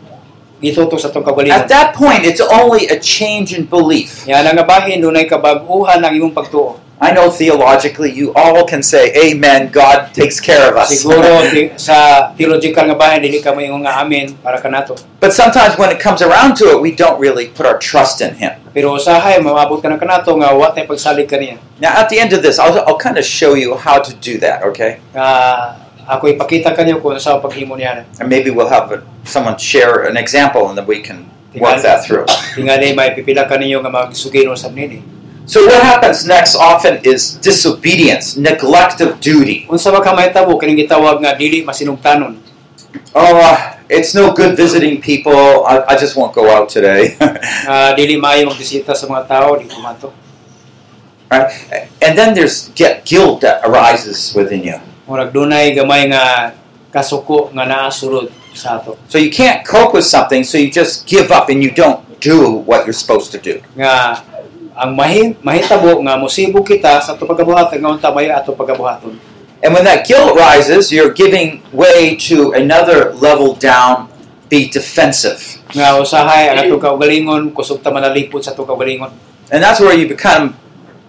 S3: gitutok sa atong
S1: At
S3: kagalingon
S1: that point, it's only a change in belief.
S3: yan ang bahin dunay kabag-uhan ang imong pagtuo
S1: I know theologically, you all can say, "Amen." God takes care of us.
S3: siguro ti- sa theological nga bahin dili ka maingong nga amen para kanato
S1: but sometimes, when it comes around to it, we don't really put our trust in Him.
S3: pero usahay maabot ka na kanato nga wa tay pagsalig kaniya
S1: Now, at the end of this, I'll, I'll kind of show you how to do that. Okay,
S3: nga ako ipakita kaniyo kung sa paghimo niya
S1: and maybe we'll have a, someone share an example, and then we can work that through.
S3: tingali may pipila kaniyo nga magsugino sa nini
S1: So what happens next often is disobedience, neglect of duty.
S3: unsa ba ka mahitabo kining gitawag nga dili masinugtanon
S1: Oh, uh, it's no good visiting people. I, I just won't go out today.
S3: nga dili maayo magbisita sa mga tao di kumato
S1: right? And then there's get guilt that arises within you.
S3: Murag dunay gamay nga kasuko nga naa sulod sa ato.
S1: So you can't cope with something, so you just give up and you don't do what you're supposed to do.
S3: Nga ang mahi, mahitabo nga mosibo kita sa ato pagabuhatan nga unta may ato pagabuhaton.
S1: And when that guilt rises, you're giving way to another level down be defensive.
S3: nga usahay ang ato kaugalingon kusog ta manalipod sa ato kaugalingon
S1: And that's where you become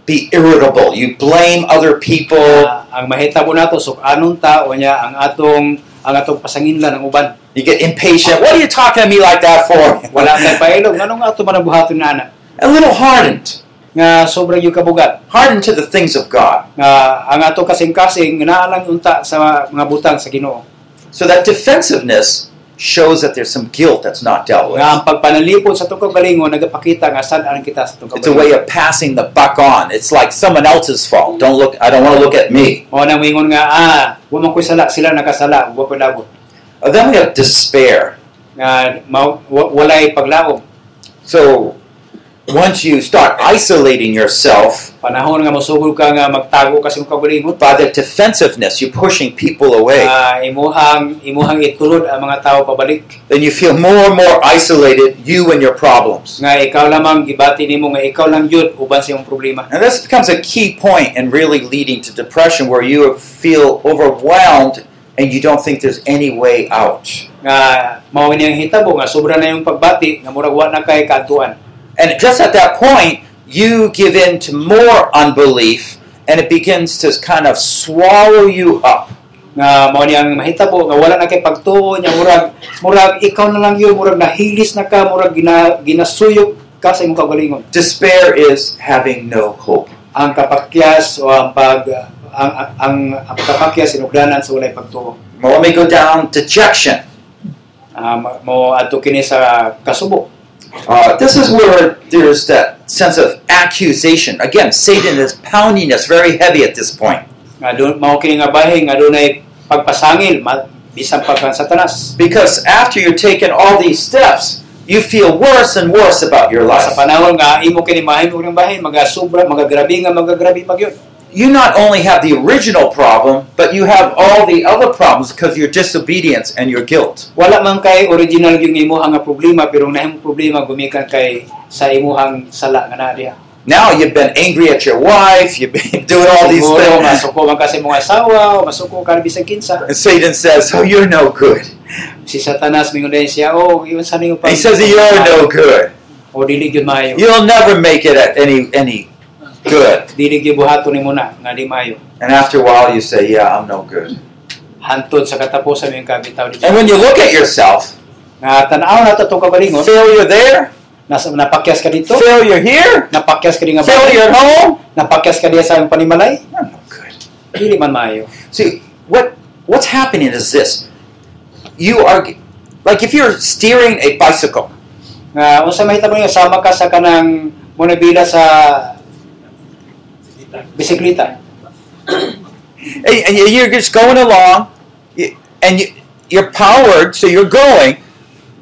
S1: be irritable. You blame other people.
S3: Ah, ang mahitabo nato suk anong ta o niya ang atong ang atong pasanginlan ng uban
S1: You get impatient. What are you talking to me like that for?
S3: wala kay pailog nganong ato manabuhaton na ana
S1: a little hardened.
S3: nga sobrang yung kabugat
S1: Hardened to the things of God.
S3: nga ang ato kasing-kasing naalang unta sa mga butang sa Ginoo
S1: So that defensiveness shows that there's some guilt that's not dealt
S3: nga ang
S1: with.
S3: pagpanalipod sa atong kaugalingon nagapakita nga sad ang kita sa atong
S1: It's a way
S3: kaugalingon
S1: of passing the buck on. It's like someone else's fault. Don't look I don't want to look at me.
S3: o nang mingon nga ah wa man ko'y sala sila nakasala wa ko'y labot
S1: Uh, then we have despair.
S3: nga ma- wa- walay paglaom
S1: So once you start isolating yourself
S3: panahon nga mosugod ka nga magtago ka sa imong kaugalingon
S1: by the defensiveness, you're pushing people away.
S3: Ah, imuhang imuhang itulod ang mga tao pabalik
S1: then you feel more and more isolated, you and your problems.
S3: nga ikaw lamang gibati nimo nga ikaw lang yun uban sa imong problema
S1: And this becomes a key point and really leading to depression where you feel overwhelmed and you don't think there's any way out.
S3: nga mao ni ang hitabo nga sobra na yung pagbati nga murag wa na kay kaadtuan
S1: And just at that point, you give in to more unbelief and it begins to kind of swallow you up.
S3: nga mao ni ang mahitabo nga wala na kay pagtuo nya murag murag ikaw na lang yun murag nahilis na ka murag gina, ginasuyok ka sa imong kaugalingon
S1: Despair is having no hope.
S3: ang kapakyas o ang pag ang ang, ang, ang kapakyas sinugdanan sa walay pagtuo
S1: Well, let me go down dejection.
S3: Ah, ma- mao adto kini sa kasubok
S1: Uh, this is where there's that sense of accusation. Again, Satan is pounding us very heavy at this point.
S3: nga doon mao kini nga bahin nga dunay pagpasangil ma- bisan pa kang satanas
S1: Because after you've taken all these steps, you feel worse and worse about your life.
S3: sa panahon nga imo kini mahimo ng bahin magasubra magagrabi nga magagrabi pagyon
S1: You not only have the original problem, but you have all the other problems because of your disobedience and your guilt.
S3: wala man kay original yung imuhang nga problema pero nahimong problema gumikan kay sa imuhang sala nga naa diha
S1: Now you've been angry at your wife, you've been doing all these
S3: Siguro,
S1: things.
S3: masuko man kasi mga asawa o masuko ka bisan kinsa
S1: And Satan says, Oh, you're no good.
S3: si satanas mingon din siya oh iyon sa ninyo
S1: And he says, You're no good.
S3: o dili gyud maayo
S1: You'll never make it at any any good.
S3: dili gyud buhaton nimo na nga di maayo
S1: And after a while you say, Yeah, I'm no good.
S3: hantod sa katapusan yung kabitaw ni
S1: And
S3: Diyo
S1: when you look at yourself,
S3: nga tanaw na to kabalingon
S1: failure there,
S3: nasa napakyas ka dito
S1: failure here,
S3: napakyas ka din nga
S1: failure at home,
S3: napakyas ka din sa iyong panimalay
S1: I'm no good.
S3: dili man maayo
S1: See, what what's happening is this. You are like if you're steering a bicycle,
S3: nga unsa mahitabo nga sama ka sa kanang monabila sa bisikleta
S1: and, and you're just going along, y- and you, you're powered, so you're going.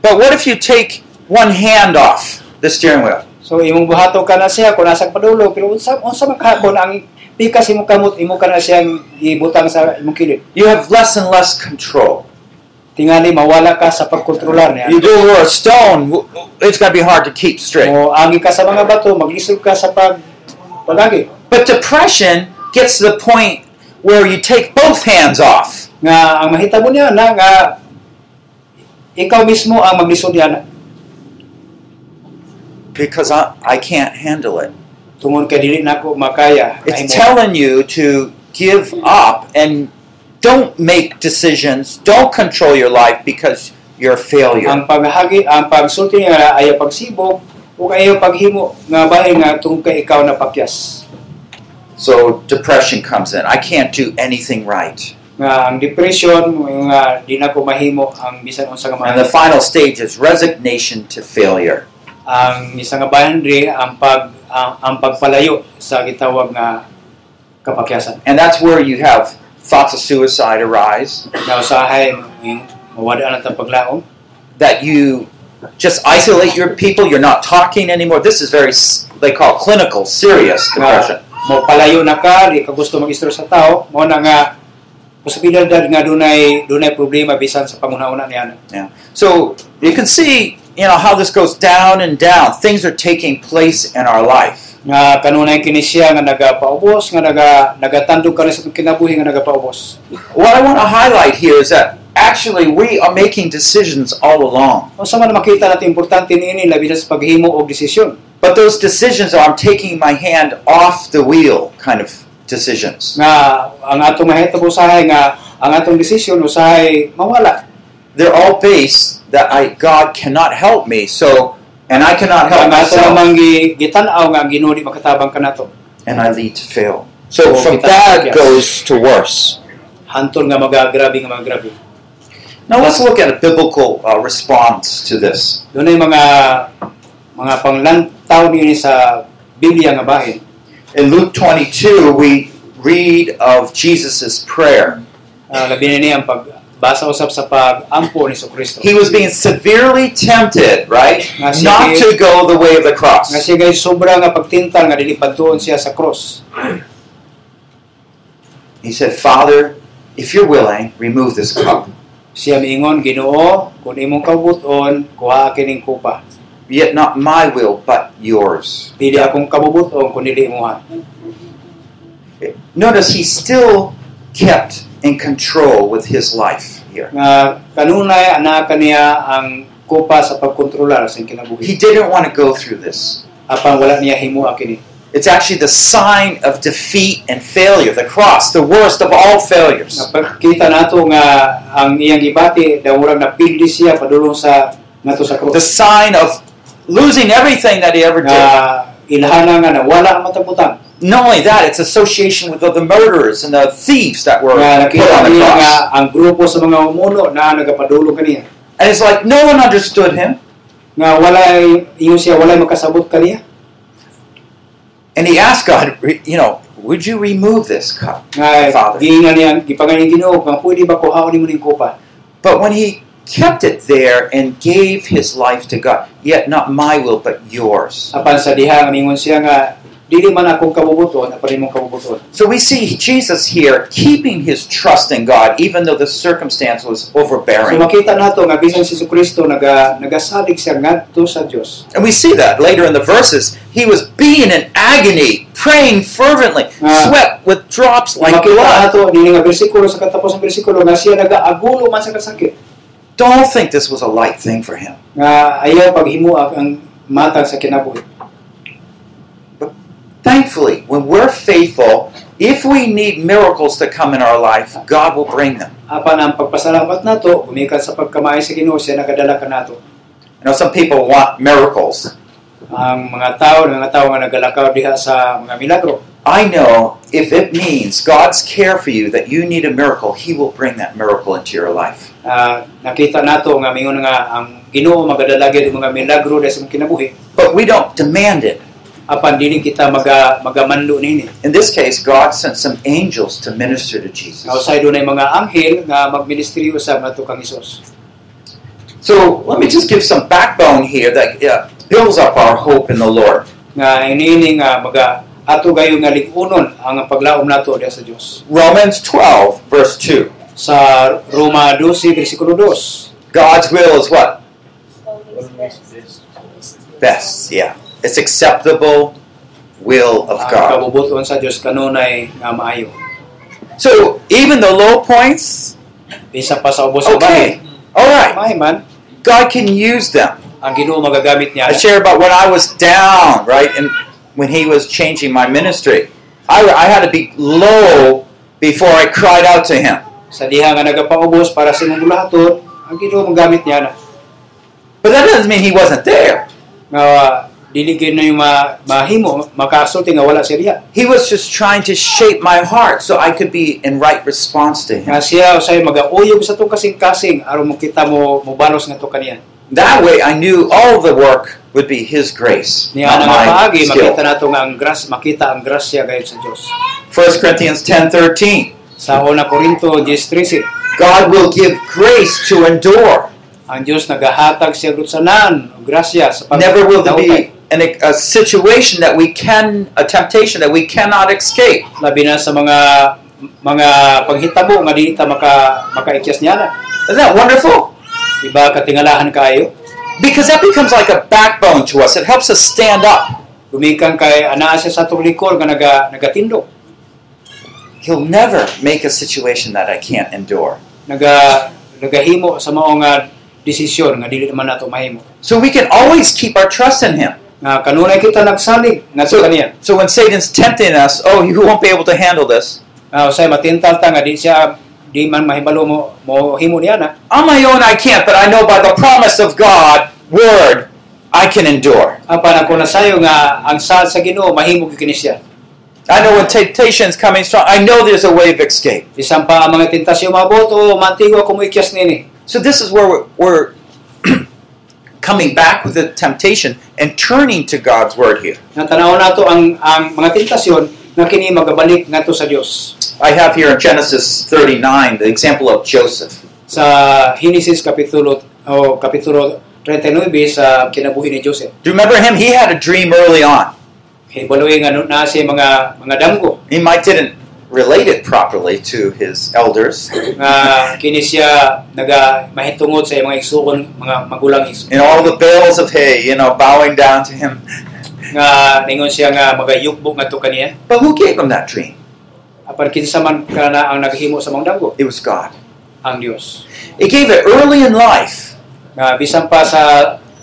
S1: But what if you take one hand off the steering wheel?
S3: so imong buhato ka na siya kung nasa padulo pero unsa unsa man kahapon ang pikas imong kamot imo ka na siyang ibutang sa imong kilid
S1: You have less and less control.
S3: tingali mawala ka sa pagkontrolar niya
S1: You do over a stone, w- w- it's going to be hard to keep straight.
S3: mo angi ka sa mga bato maglisod ka sa pag palagi
S1: But depression gets to the point where you take both hands off.
S3: nga ang mahitabo niya na nga ikaw mismo ang maglisod niya na
S1: Because I, I can't handle it.
S3: tungod kay dili nako makaya
S1: It's
S3: Ay, mo-
S1: telling you to give up and don't make decisions, don't control your life because you're a failure.
S3: ang paghagi ang pagsulti nga ayaw pagsibog ug ayaw paghimo nga bahin nga tungod kay ikaw na pakyas
S1: So depression comes in. I can't do anything right.
S3: nga ang depression nga di na ko mahimo ang bisan unsa nga
S1: And the
S3: mahimo
S1: final stage is resignation to failure.
S3: ang isa nga bahin diri ang pag ang, ang pagpalayo sa gitawag nga kapakyasan
S1: And that's where you have thoughts of suicide arise,
S3: nga usahay eh, mawada na tang paglaom
S1: that you just isolate your people, you're not talking anymore. This is very, s- they call clinical, serious depression.
S3: mo palayo na ka di ka gusto mag-istro sa tao mo na nga posibilidad nga dunay dunay problema bisan sa panguna-una niya
S1: So you can see, you know, how this goes down and down. Things are taking place in our life.
S3: nga kanunay kini siya nga nagapaubos nga naga nagatandog ka rin sa itong kinabuhi nga nagapaubos
S1: What I want to highlight here is that actually we are making decisions all along.
S3: O sama na makita natin importante niini labi na sa paghimo og desisyon.
S1: But those decisions are I'm taking my hand off the wheel kind of decisions.
S3: Nga ang atong mahitabo usahay nga ang atong desisyon usahay mawala.
S1: They're all based that I God cannot help me, so and I cannot help
S3: Ang ato
S1: myself
S3: namang gi- gitan-aw nga ang Ginoo di makatabang kanato.
S1: and I lead to fail. So
S3: Oh,
S1: from
S3: kita-
S1: bad
S3: yes.
S1: goes to worse.
S3: Hantol nga magagrabe nga magagrabe.
S1: Now let's look at a biblical uh, response to this.
S3: Doon ay mga mga panglantaw niini sa Biblia nga bahin.
S1: In Luke 22, we read of Jesus' prayer.
S3: Ah, labi na niya ang pagbasa usab sa pag-ampo ni Kristo.
S1: He was being severely tempted, right?
S3: Nga siya
S1: Not
S3: kay-
S1: to go the way of the
S3: nga
S1: cross.
S3: siya guys sobra nga pagtintal nga dili padtuon siya sa cross.
S1: He said, Father, if you're willing, remove this cup.
S3: Siya miingon, Ginoo, kung imong kabuton, kuha kining kupa.
S1: Yet not my will, but yours.
S3: Dili akong kabubuton kung dili imuha.
S1: Notice he still kept in control with his life here.
S3: Nga kanunay ana kaniya ang kupa sa pagkontrolar sa kinabuhi.
S1: He didn't want to go through this.
S3: Apan wala niya himuha kini.
S1: It's actually the sign of defeat and failure, the cross, the worst of all failures.
S3: Nga pagkita nato nga ang iyang gibati dawurang napigli siya padulong sa nato
S1: The
S3: sa cross.
S1: sign of losing everything that he ever did.
S3: Nga ilhana nga na wala ang mataputang.
S1: not only that, it's association with the, the murderers and the thieves that were
S3: Nga
S1: put
S3: nakita
S1: on the
S3: niya nga
S1: cross.
S3: ang grupo sa mga umulo na nagapadulong kaniya.
S1: And it's like no one understood him,
S3: Nga walay iyo siya walay makasabot kaniya.
S1: and he asked God, re- you know, would you remove this cup?
S3: Nga
S1: Father.
S3: giingan niya gipangayon Ginoo nga pwede ba kuhaon nimo ning kupa?
S1: But when he kept it there and gave his life to God, yet not my will but yours.
S3: apan sa diha nga mingon siya nga dili man akong kabubuton apan imong kabubuton
S1: So we see Jesus here keeping his trust in God, even though the circumstance was
S3: so
S1: overbearing.
S3: makita nato nga bisan si Kristo naga nagasalig siya ngadto sa Dios
S1: And we see that later in the verses. He was being in agony, praying fervently,
S3: Ah.
S1: sweat with drops like blood.
S3: makita nato dili nga bersikulo sa katapos ng bersikulo nga siya nagaagulo man sa kasakit
S1: Don't think this was a light thing for him.
S3: nga ayaw paghimuak ang matag sa kinabuhi
S1: Thankfully, when we're faithful, if we need miracles to come in our life, God will bring them.
S3: apan ang pagpasalamat nato gumikan sa pagkamay sa Ginoo siya nagadala kanato
S1: You know, some people want miracles.
S3: ang mga tao mga tao nga nagalakaw diha sa mga milagro
S1: I know if it means God's care for you that you need a miracle, He will bring that miracle into your life.
S3: Ah, nakita nato nga mingon nga ang Ginoo magadala gyud og mga milagro diha sa mga kinabuhi
S1: But we don't demand it.
S3: apan dili kita maga magamanlo nini.
S1: In this case, God sent some angels to minister to
S3: Nga
S1: Jesus.
S3: usay dunay mga anghel nga magministeryo sa nato kang Hesus.
S1: So let me just give some backbone here that uh, builds up our hope in the Lord.
S3: Nga iniini nga maga ato gayo nga ligunon ang paglaom nato diha sa Dios.
S1: Romans 12, verse 2.
S3: Sa Roma 12 bersikulo 2.
S1: God's will is what?
S4: Best.
S1: best. Yeah, it's acceptable will of
S3: Ang
S1: God.
S3: kabubuton sa Dios kanunay nga maayo.
S1: So even the low points,
S3: Bisa pa sa ubos sa
S1: okay,
S3: bahay.
S1: all right,
S3: May man
S1: God can use them.
S3: ang Ginoo magagamit niya.
S1: I share about when I was down, right, and when He was changing my ministry, I, I had to be low before I cried out to Him.
S3: Sa diha nga nagapaubos para sa imong bulahaton, ang Ginoo magamit niya na.
S1: But that doesn't mean He wasn't there.
S3: Nga dili gyud na yung ma- mahimo makasulti nga wala siya diha.
S1: He was just trying to shape my heart so I could be in right response to Him.
S3: nga siya usay magauyog sa tong kasing-kasing aron makita mo mobalos nga to kaniya
S1: That way, I knew all the work would be His grace,
S3: niya
S1: not
S3: na nga
S1: my
S3: paagi
S1: skill.
S3: makita nato nga ang gras makita ang grasya gayud sa Dios
S1: 1 Corinthians 10:13.
S3: sa una Korinto 10:13
S1: God will give grace to endure.
S3: ang Dios nagahatag siya gud sa nan og grasya sa pag-
S1: Never will there be
S3: daotay.
S1: an, a situation that we can a temptation that we cannot escape.
S3: labi na sa mga mga panghitabo nga dili ta maka makaikyas niya na
S1: Isn't that wonderful?
S3: iba katingalahan kaayo
S1: Because that becomes like a backbone to us. It helps us stand up.
S3: gumikan kay anaa siya sa atong likol nga naga nagatindog
S1: He'll never make a situation that I can't endure.
S3: naga nagahimo sa mao nga desisyon nga dili naman nato mahimo.
S1: So we can always keep our trust in Him.
S3: Nga kanunay kita nagsalig ngadto kaniya.
S1: So when Satan's tempting us, oh, you won't be able to handle this.
S3: Nga usay matintal ta nga di siya di man mahibalo mo mo himo niya na.
S1: On my own, I can't, but I know by the promise of God, Word, I can endure.
S3: Apan ako nasayo nga ang sal sa Ginoo mahimo gyud kini siya.
S1: I know when temptation is coming strong, I know there's a way of escape.
S3: Bisan pa ang mga tentasyon mabot o mantigo ako mo ikyas nini.
S1: So this is where we're, we're coming back with the temptation and turning to God's Word here.
S3: Nga tanaw nato ang ang mga tentasyon nga kini magabalik ngadto sa Dios.
S1: I have here in Genesis 39 the example of Joseph.
S3: sa Genesis kapitulo o kapitulo 39 sa kinabuhi ni Joseph.
S1: Do you remember him? He had a dream early on.
S3: Hibaloy nga nun- na siya mga mga damgo
S1: He might didn't relate it properly to his elders.
S3: nga kini siya naga mahitungod sa mga igsoon mga magulang is
S1: And all the bales of hay, you know, bowing down to him.
S3: nga ningon siya nga magayukbo nga to kaniya
S1: But who gave him that dream?
S3: apan kinsa man kana ang naghimo sa mga damgo
S1: It was God.
S3: ang Dios
S1: He gave it early in life.
S3: nga bisan pa sa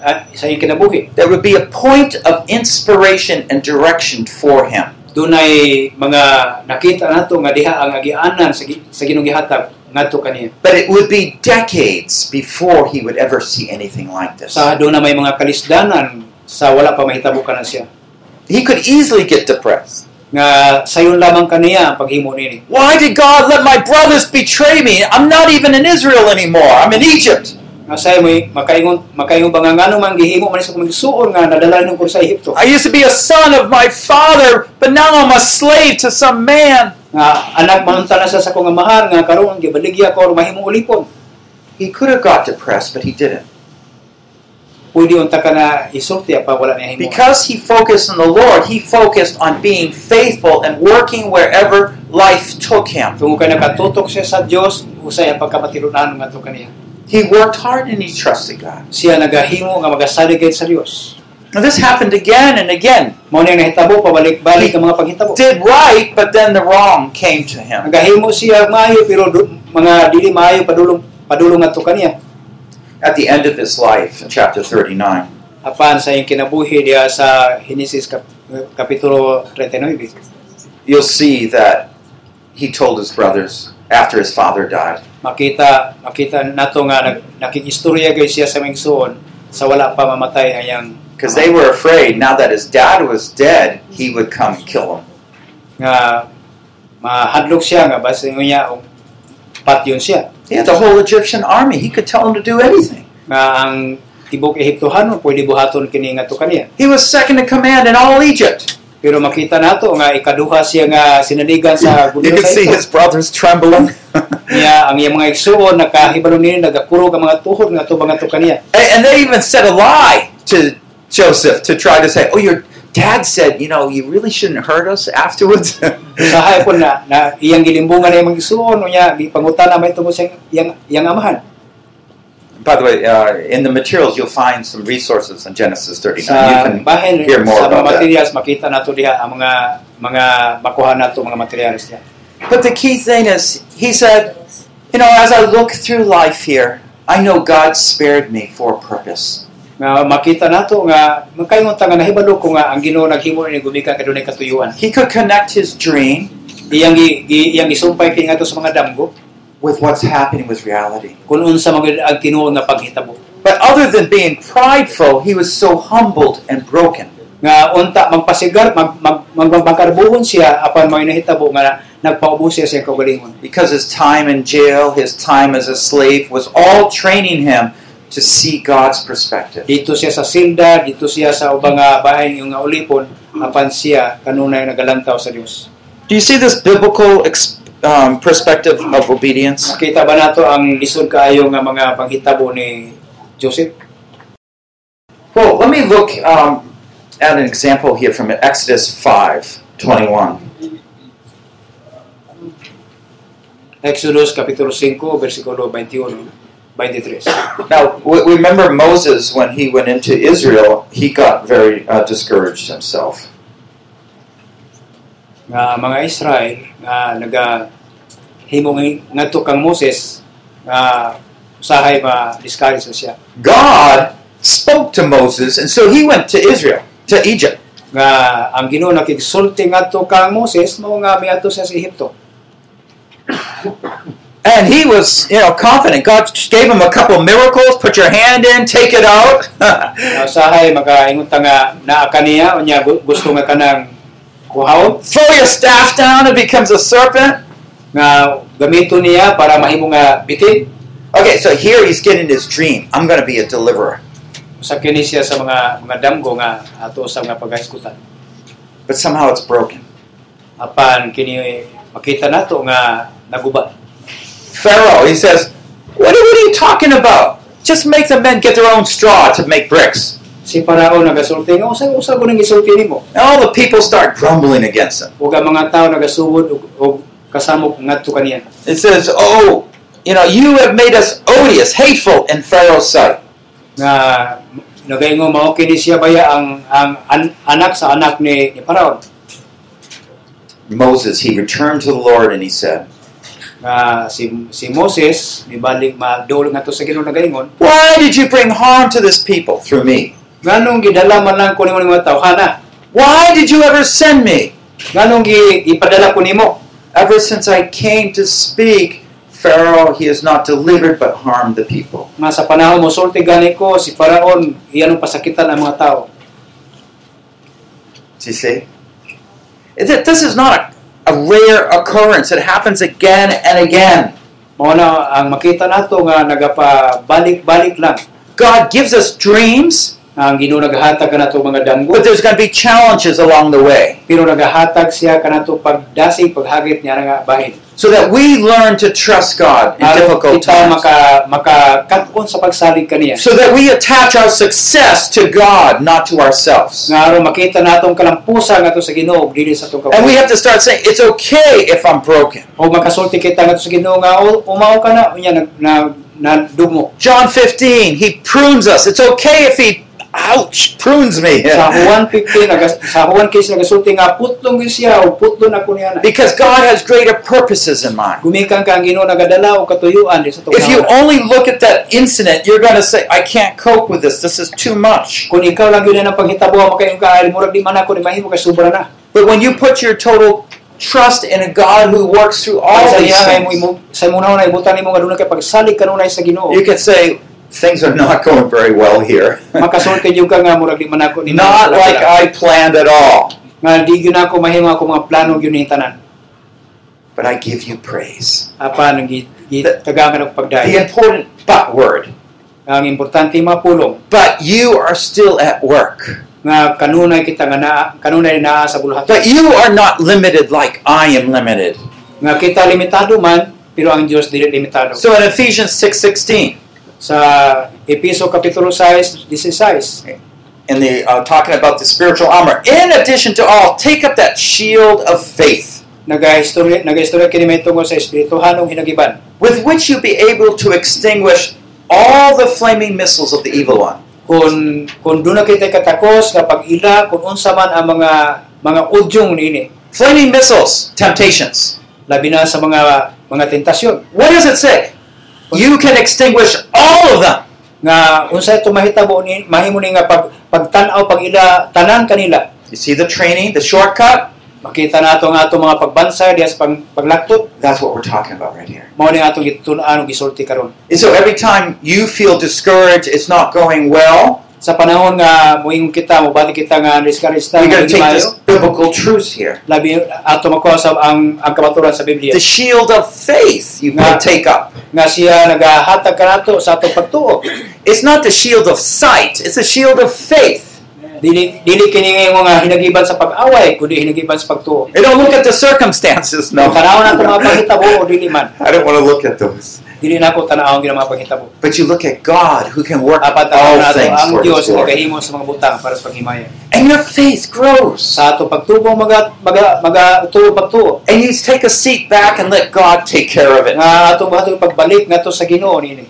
S3: ah, sa iyang kinabuhi
S1: There would be a point of inspiration and direction for him.
S3: dunay mga nakita nato nga diha ang agianan sa gi- sa Ginoong gihatag ngadto kaniya
S1: But it would be decades before he would ever see anything like this.
S3: sa doon na may mga kalisdanan sa wala pa mahitabukan na siya.
S1: He could easily get depressed.
S3: Nga sayon lamang kaniya ang paghimo nini.
S1: Why did God let my brothers betray me? I'm not even in Israel anymore. I'm in Egypt.
S3: Nga sayo may makaingon makaingon ba nga ngano man gihimo man sa kumigsuon nga nadala nung sa Ehipto.
S1: I used to be a son of my father, but now I'm a slave to some man.
S3: Nga anak man na sa sa kong amahan nga karon gibaligya ko or mahimo ulipon.
S1: He could have got depressed, but he didn't.
S3: Pwede unta ka na isulti pa wala niya himo.
S1: Because he focused on the Lord, he focused on being faithful and working wherever life took him.
S3: Tungo kay nakatutok siya sa Dios usay ang pagkamatilunan nga to kaniya.
S1: He worked hard and he trusted God.
S3: Siya nagahimo nga magasalig kay sa Dios.
S1: Now, this happened again and again.
S3: Mao nang nahitabo pabalik-balik ang mga paghitabo.
S1: Did right, but then the wrong came to him.
S3: Nagahimo siya maayo pero du- mga dili maayo padulong padulong ato kaniya.
S1: At the end of his life, in chapter 39,
S3: Apan sa iyang kinabuhi diya sa Henesis kap, kapitulo 39.
S1: you'll see that he told his brothers after his father died.
S3: Makita makita nato nga nag, nakikistorya gay siya sa mga igsoon sa wala pa mamatay ang iyang
S1: Because they were afraid now that his dad was dead, he would come and kill him.
S3: nga mahadlok siya nga basta yun niya og patyon siya
S1: He had the whole Egyptian army. He could tell him to do anything.
S3: nga ang tibok Ehiptohanon pwede buhaton kini nga to kaniya.
S1: He was second in command in all Egypt.
S3: Pero makita nato nga ikaduha siya nga sinaligan sa
S1: You
S3: gulo
S1: could
S3: sa
S1: see
S3: ito.
S1: his brothers trembling. and,
S3: niya ang iyang mga igsuon nakahibalo nini nagakurog ang mga tuhod nga tubang ato kaniya
S1: and they even said a lie to Joseph to try to say, "Oh, your dad said, you know, you really shouldn't hurt us afterwards."
S3: usahay po na, na iyang gilimbungan na iyang mga igsuon o niya pangutan na may tungkol sa iyang, iyang amahan
S1: By the way, uh, in the materials you'll find some resources in Genesis 39.
S3: sa
S1: you can
S3: bahin
S1: hear more
S3: sa mga
S1: about that.
S3: materials makita nato diha ang mga mga makuha nato mga materials niya
S1: But the key thing is, he said, you know, as I look through life here, I know God spared me for a purpose.
S3: nga makita nato nga magkaingon ta nga nahibalo ko nga ang Ginoo naghimo ni gumikan kadunay katuyuan
S1: He could connect his dream
S3: iyang gi, gi- iyang isumpay kini nga to sa mga damgo
S1: with what's happening with reality.
S3: kung unsa magud ang Tinuod nga paghitabo
S1: But other than being prideful, he was so humbled and broken.
S3: nga unta magpasigar mag, mag magbangkarbuhon siya apan may nahitabo nga nagpaubo siya sa kaugalingon
S1: Because his time in jail, his time as a slave, was all training him to see God's perspective.
S3: dito siya sa silda dito siya sa ubang nga bahay nga ulipon apan siya kanunay nagalantaw sa Dios
S1: Do you see this biblical ex- um, perspective of obedience?
S3: makita ba nato ang lisod kaayo nga mga panghitabo ni Joseph
S1: Well, let me look um, at an example here from Exodus 5 21.
S3: Exodus kapitulo 5 versikulo 21 23
S1: Now, w- remember Moses when he went into Israel, he got very uh, discouraged himself.
S3: nga ang mga Israel nga naga himo nga- ngadto kang Moses nga usahay ma discourage na siya
S1: God spoke to Moses, and so he went to Israel, to Egypt.
S3: nga ang Ginoo nakigsulti ngadto kang Moses mao nga miadto siya sa Ehipto
S1: And he was, you know, confident. God gave him a couple miracles. Put your hand in, take it out.
S3: nga usahay makaingon ta nga naa kaniya unya gu- gusto nga kanang kuhaw
S1: Throw your staff down, it becomes a serpent.
S3: nga gamito niya para mahimo nga bitin
S1: Okay, so here he's getting his dream. I'm going to be a deliverer.
S3: sa kini siya sa mga mga damgo nga ato sa mga paghaiskutan
S1: But somehow it's broken.
S3: apan kini makita nato nga naguba
S1: Pharaoh, he says, what, what are you talking about? Just make the men get their own straw to make bricks.
S3: si Parao nagasulti nga usa usa ko nang gisulti nimo
S1: And all the people start grumbling against him.
S3: ug ang mga tawo nagasugod og, og kasamok ngadto kaniya
S1: It says, Oh, you know, you have made us odious, hateful in Pharaoh's sight.
S3: nga nagaingon mao kini siya baya ang ang an- anak sa anak ni, ni Parao
S1: Moses, he returned to the Lord and he said,
S3: nga si si Moses nibalik madol ngadto sa Ginoo nagaingon
S1: Why did you bring harm to this people through me?
S3: nganong gidala man lang ko nimo ni mga tawhana
S1: Why did you ever send me?
S3: nganong gi, ipadala ko nimo
S1: Ever since I came to speak, Pharaoh, he has not delivered but harmed the people.
S3: nga sa panahon mo sulti gani ko si Paraon iyan ang pasakitan ang mga tao
S1: Do you see? It- it- This is not a, a rare occurrence. It happens again and again.
S3: mao na ang makita nato nga nagapabalik-balik lang
S1: God gives us dreams,
S3: ang Ginoo naghatag kanato mga damgo
S1: but there's going to be challenges along the way.
S3: pero naghatag siya kanato pagdasig paghagit niya nga bahin
S1: so that we learn to trust God in
S3: aron
S1: difficult
S3: kita
S1: times.
S3: maka makakatun sa pagsalig kaniya
S1: So that we attach our success to God, not to ourselves.
S3: nga aron makita natong kalampusa nga to sa Ginoo ug dili sa atong
S1: And we
S3: kabuhi
S1: have to start saying, it's okay if I'm broken.
S3: o makasulti kita nga to sa Ginoo nga "O, umaw ka na unya nag na, na dugmo
S1: John 15, he prunes us. It's okay if he, ouch, prunes me.
S3: sa Juan 15 nagas- sa Juan 15 nagasulti nga putlong gyud siya o putlon ako niya na
S1: Because God has greater purposes in mind.
S3: gumikan ka ang Ginoo nagadala o katuyuan di sa
S1: If you
S3: tukaw.
S1: only look at that incident, you're going to say, I can't cope with this. This is too much.
S3: Kung ikaw lang yun ang panghitabo ang makayong kaayal, murag di man ako ni mahimo kay sobra na.
S1: But when you put your total trust in a God who works through all
S3: Sa
S1: these
S3: iya kay mo
S1: things,
S3: imo- sa mo na ibutan nimo nga dunay kay pagsalig kanunay sa Ginoo.
S1: you can say things are not going very well here.
S3: Makasulti jud ka nga murag di man ako ni
S1: not like I planned at all,
S3: nga di gyud ako mahimo ako mga plano gyud ni tanan.
S1: but I give you praise.
S3: Apan ang gi- gitagangan og
S1: The
S3: pagdayon.
S1: important but word.
S3: Ang importante mapulong
S1: But you are still at work.
S3: nga kanunay kita nga naa kanunay naa sa buluhatan.
S1: But you are not limited like I am limited.
S3: Nga kita limitado man pero ang Dios dili limitado.
S1: So in Ephesians 6:16,
S3: Sa Episo Kapitulo 6, 16.
S1: in the uh, talking about the spiritual armor, in addition to all, take up that shield of faith
S3: Nagahistorya nagahistorya kini may tungod sa espirituhan ug hinagiban
S1: with which you'll be able to extinguish all the flaming missiles of the evil one.
S3: kun kun duna kita katakos nga pag-ila kun unsa man ang mga mga udyong niini
S1: Flaming missiles, temptations.
S3: labi na sa mga mga tentasyon
S1: What does it say? You can extinguish all of them.
S3: nga unsa ito mahitabo ni mahimo ni nga pag pagtan-aw pag-ila tanan kanila
S1: You see the training, the shortcut?
S3: makita nato ang ato mga pagbansa diha sa pag, paglaktot
S1: That's what we're talking about right here.
S3: mao ni atong gitun-an ug gisulti karon
S1: And so every time you feel discouraged, it's not going well,
S3: sa panahon nga moingon kita mobati kita nga discouraged ta
S1: we're
S3: nga
S1: going to take
S3: himayo,
S1: this biblical truth here.
S3: labi ato makuha sa ang ang kabaturan sa Biblia
S1: The shield of faith you
S3: Nah.
S1: can take up.
S3: nga siya nagahatag kanato sa atong pagtuo
S1: It's not the shield of sight, it's the shield of faith.
S3: dili dili kini nga mga hinagiban sa pag-away kundi hinagiban sa pagtuo
S1: And don't look at the circumstances, no.
S3: no tanaw na ito mga panghitabo o dili man
S1: I don't want to look at those.
S3: dili na ko tanaw ang mga panghitabo
S1: But you look at God who can work
S3: apat tanaw
S1: all
S3: na ito
S1: things
S3: ang
S1: for
S3: Dios
S1: His
S3: nga
S1: glory.
S3: kahimo sa mga butang para sa paghimaya
S1: And your faith grows.
S3: sa ato pagtubo maga maga maga tuo pagtuo
S1: And you take a seat back and let God take care of it.
S3: nga ato ato pagbalik nga to sa Ginoo nini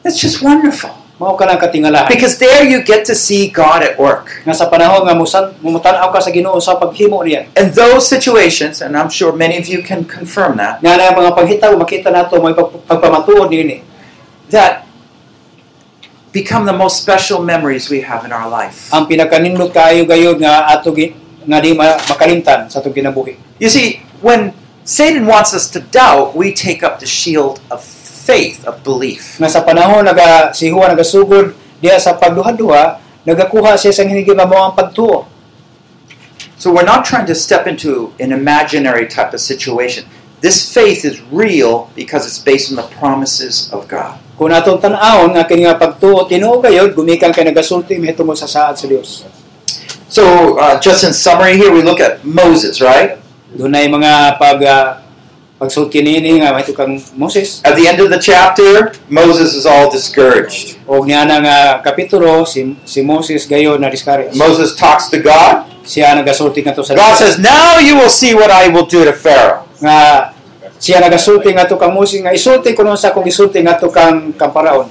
S1: That's just wonderful.
S3: mao ka nang katingalahan
S1: Because there you get to see God at work.
S3: nga sa panahon nga musan mumutanaw ka sa Ginoo sa paghimo niya
S1: And those situations, and I'm sure many of you can confirm that,
S3: nga na mga panghitabo makita nato may pag- pagpamatuod nini
S1: that become the most special memories we have in our life.
S3: ang pinakanindot kayo gayod nga ato gi- nga di ma- makalimtan sa atong kinabuhi.
S1: You see, when Satan wants us to doubt, we take up the shield of faith, of belief.
S3: Nga sa panahon naga si Juan nagasugod diya sa pagduha-duha, nagakuha siya sa hinigin nga mao ang pagtuo.
S1: So we're not trying to step into an imaginary type of situation. This faith is real because it's based on the promises of God.
S3: Kung atong tan-awon nga kini nga pagtuo tinuo gayod gumikan kay nagasulti mahitungod sa saad sa Dios.
S1: So, uh, just in summary here, we look at Moses, right?
S3: Dunay mga pag uh, pagsulti niini nga mahitungod kang Moses.
S1: At the end of the chapter, Moses is all discouraged.
S3: O niya na nga kapitulo si, si Moses gayod na discouraged.
S1: Moses talks to God.
S3: Siya nagasulti nga to sa
S1: God
S3: Dios.
S1: says, Now you will see what I will do to Pharaoh.
S3: nga siya nagasulti nga to kang Moses nga isulti kuno sa akong isulti nga to kang kang paraon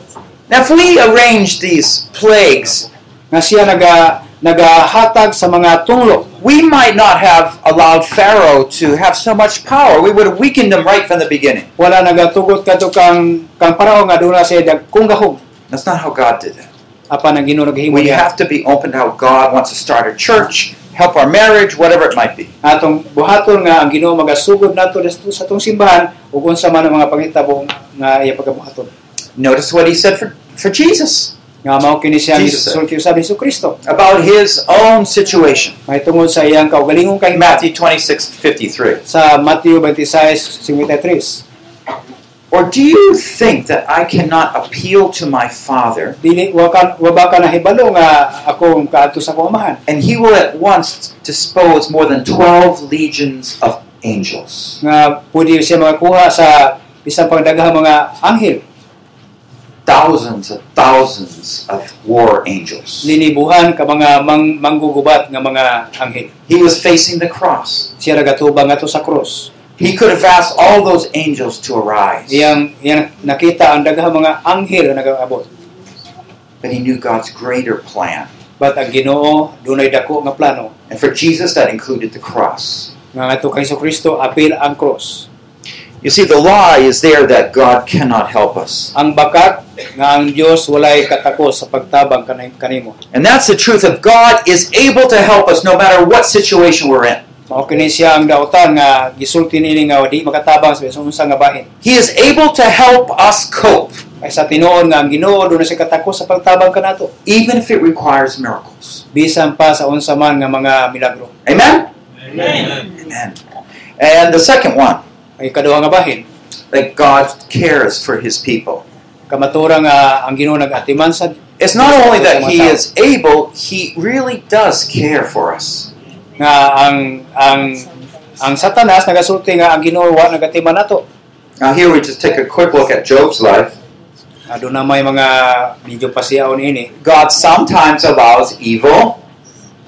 S1: Now, if we arrange these plagues,
S3: nga siya naga nagahatag sa mga tunglo
S1: we might not have allowed Pharaoh to have so much power. We would have weakened him right from the beginning.
S3: wala nagatugot kadto kang kang paraon nga doon na siya dagkong gahog
S1: That's not how God did it.
S3: apan ang Ginoo naghimo
S1: We
S3: niya
S1: have to be open to how God wants to start a church, help our marriage, whatever it might be.
S3: atong buhaton nga ang Ginoo magasugod nato desto sa atong simbahan ug unsa man ang mga panghitabo nga iya pagkabuhaton
S1: Notice what he said for, for Jesus
S3: nga mao kini siya ang
S1: Jesus said.
S3: gisulti sa Hesus Kristo
S1: about his own situation.
S3: mahitungod sa iyang kaugalingong
S1: In
S3: kahimat
S1: Matthew 26 53.
S3: sa Mateo 26:53
S1: Or do you think that I cannot appeal to my Father
S3: dili wa ka wa ba ka nahibalo nga ako ang kaato sa kumahan
S1: and he will at once dispose more than 12 legions of angels?
S3: nga pwede siya makakuha sa bisan pang daghang mga anghel
S1: Thousands of thousands of war angels.
S3: linibuhan ka mga mang, manggugubat nga mga anghel
S1: He was facing the cross.
S3: siya nagatubang ato sa cross
S1: He could have asked all those angels to arise,
S3: iyang iyang nakita ang daghang mga anghel nga nagaabot
S1: but he knew God's greater plan.
S3: but ang Ginoo dunay dako nga plano
S1: And for Jesus, that included the cross.
S3: nga ato kay Kristo apil ang cross
S1: You see, the lie is there that God cannot help us.
S3: ang bakat nga ang Dios walay katakos sa pagtabang kanay- kanimo
S1: And that's the truth of God is able to help us no matter what situation we're in.
S3: mao kini siya ang dautan nga gisulti nini nga di makatabang sa bisan unsa nga bahin
S1: He is able to help us cope,
S3: Ay sa tinuon nga ang Ginoo doon na siya katakos sa pagtabang kanato
S1: even if it requires miracles.
S3: bisan pa sa unsa man nga mga milagro.
S1: Amen? Amen. And the second one,
S3: Ay kaduha nga bahin
S1: that God cares for his people.
S3: kamatura nga ang Ginoo nagatiman sa
S1: It's not only that he is able, he really does care for us.
S3: nga ang ang
S1: "Um,
S3: ang Satanas nagasulti nga ang Ginoo wa nagatiman nato.
S1: Now, here we just take a quick look at Job's life.
S3: Ado na may mga medyo pasiyaon ini
S1: God sometimes allows evil.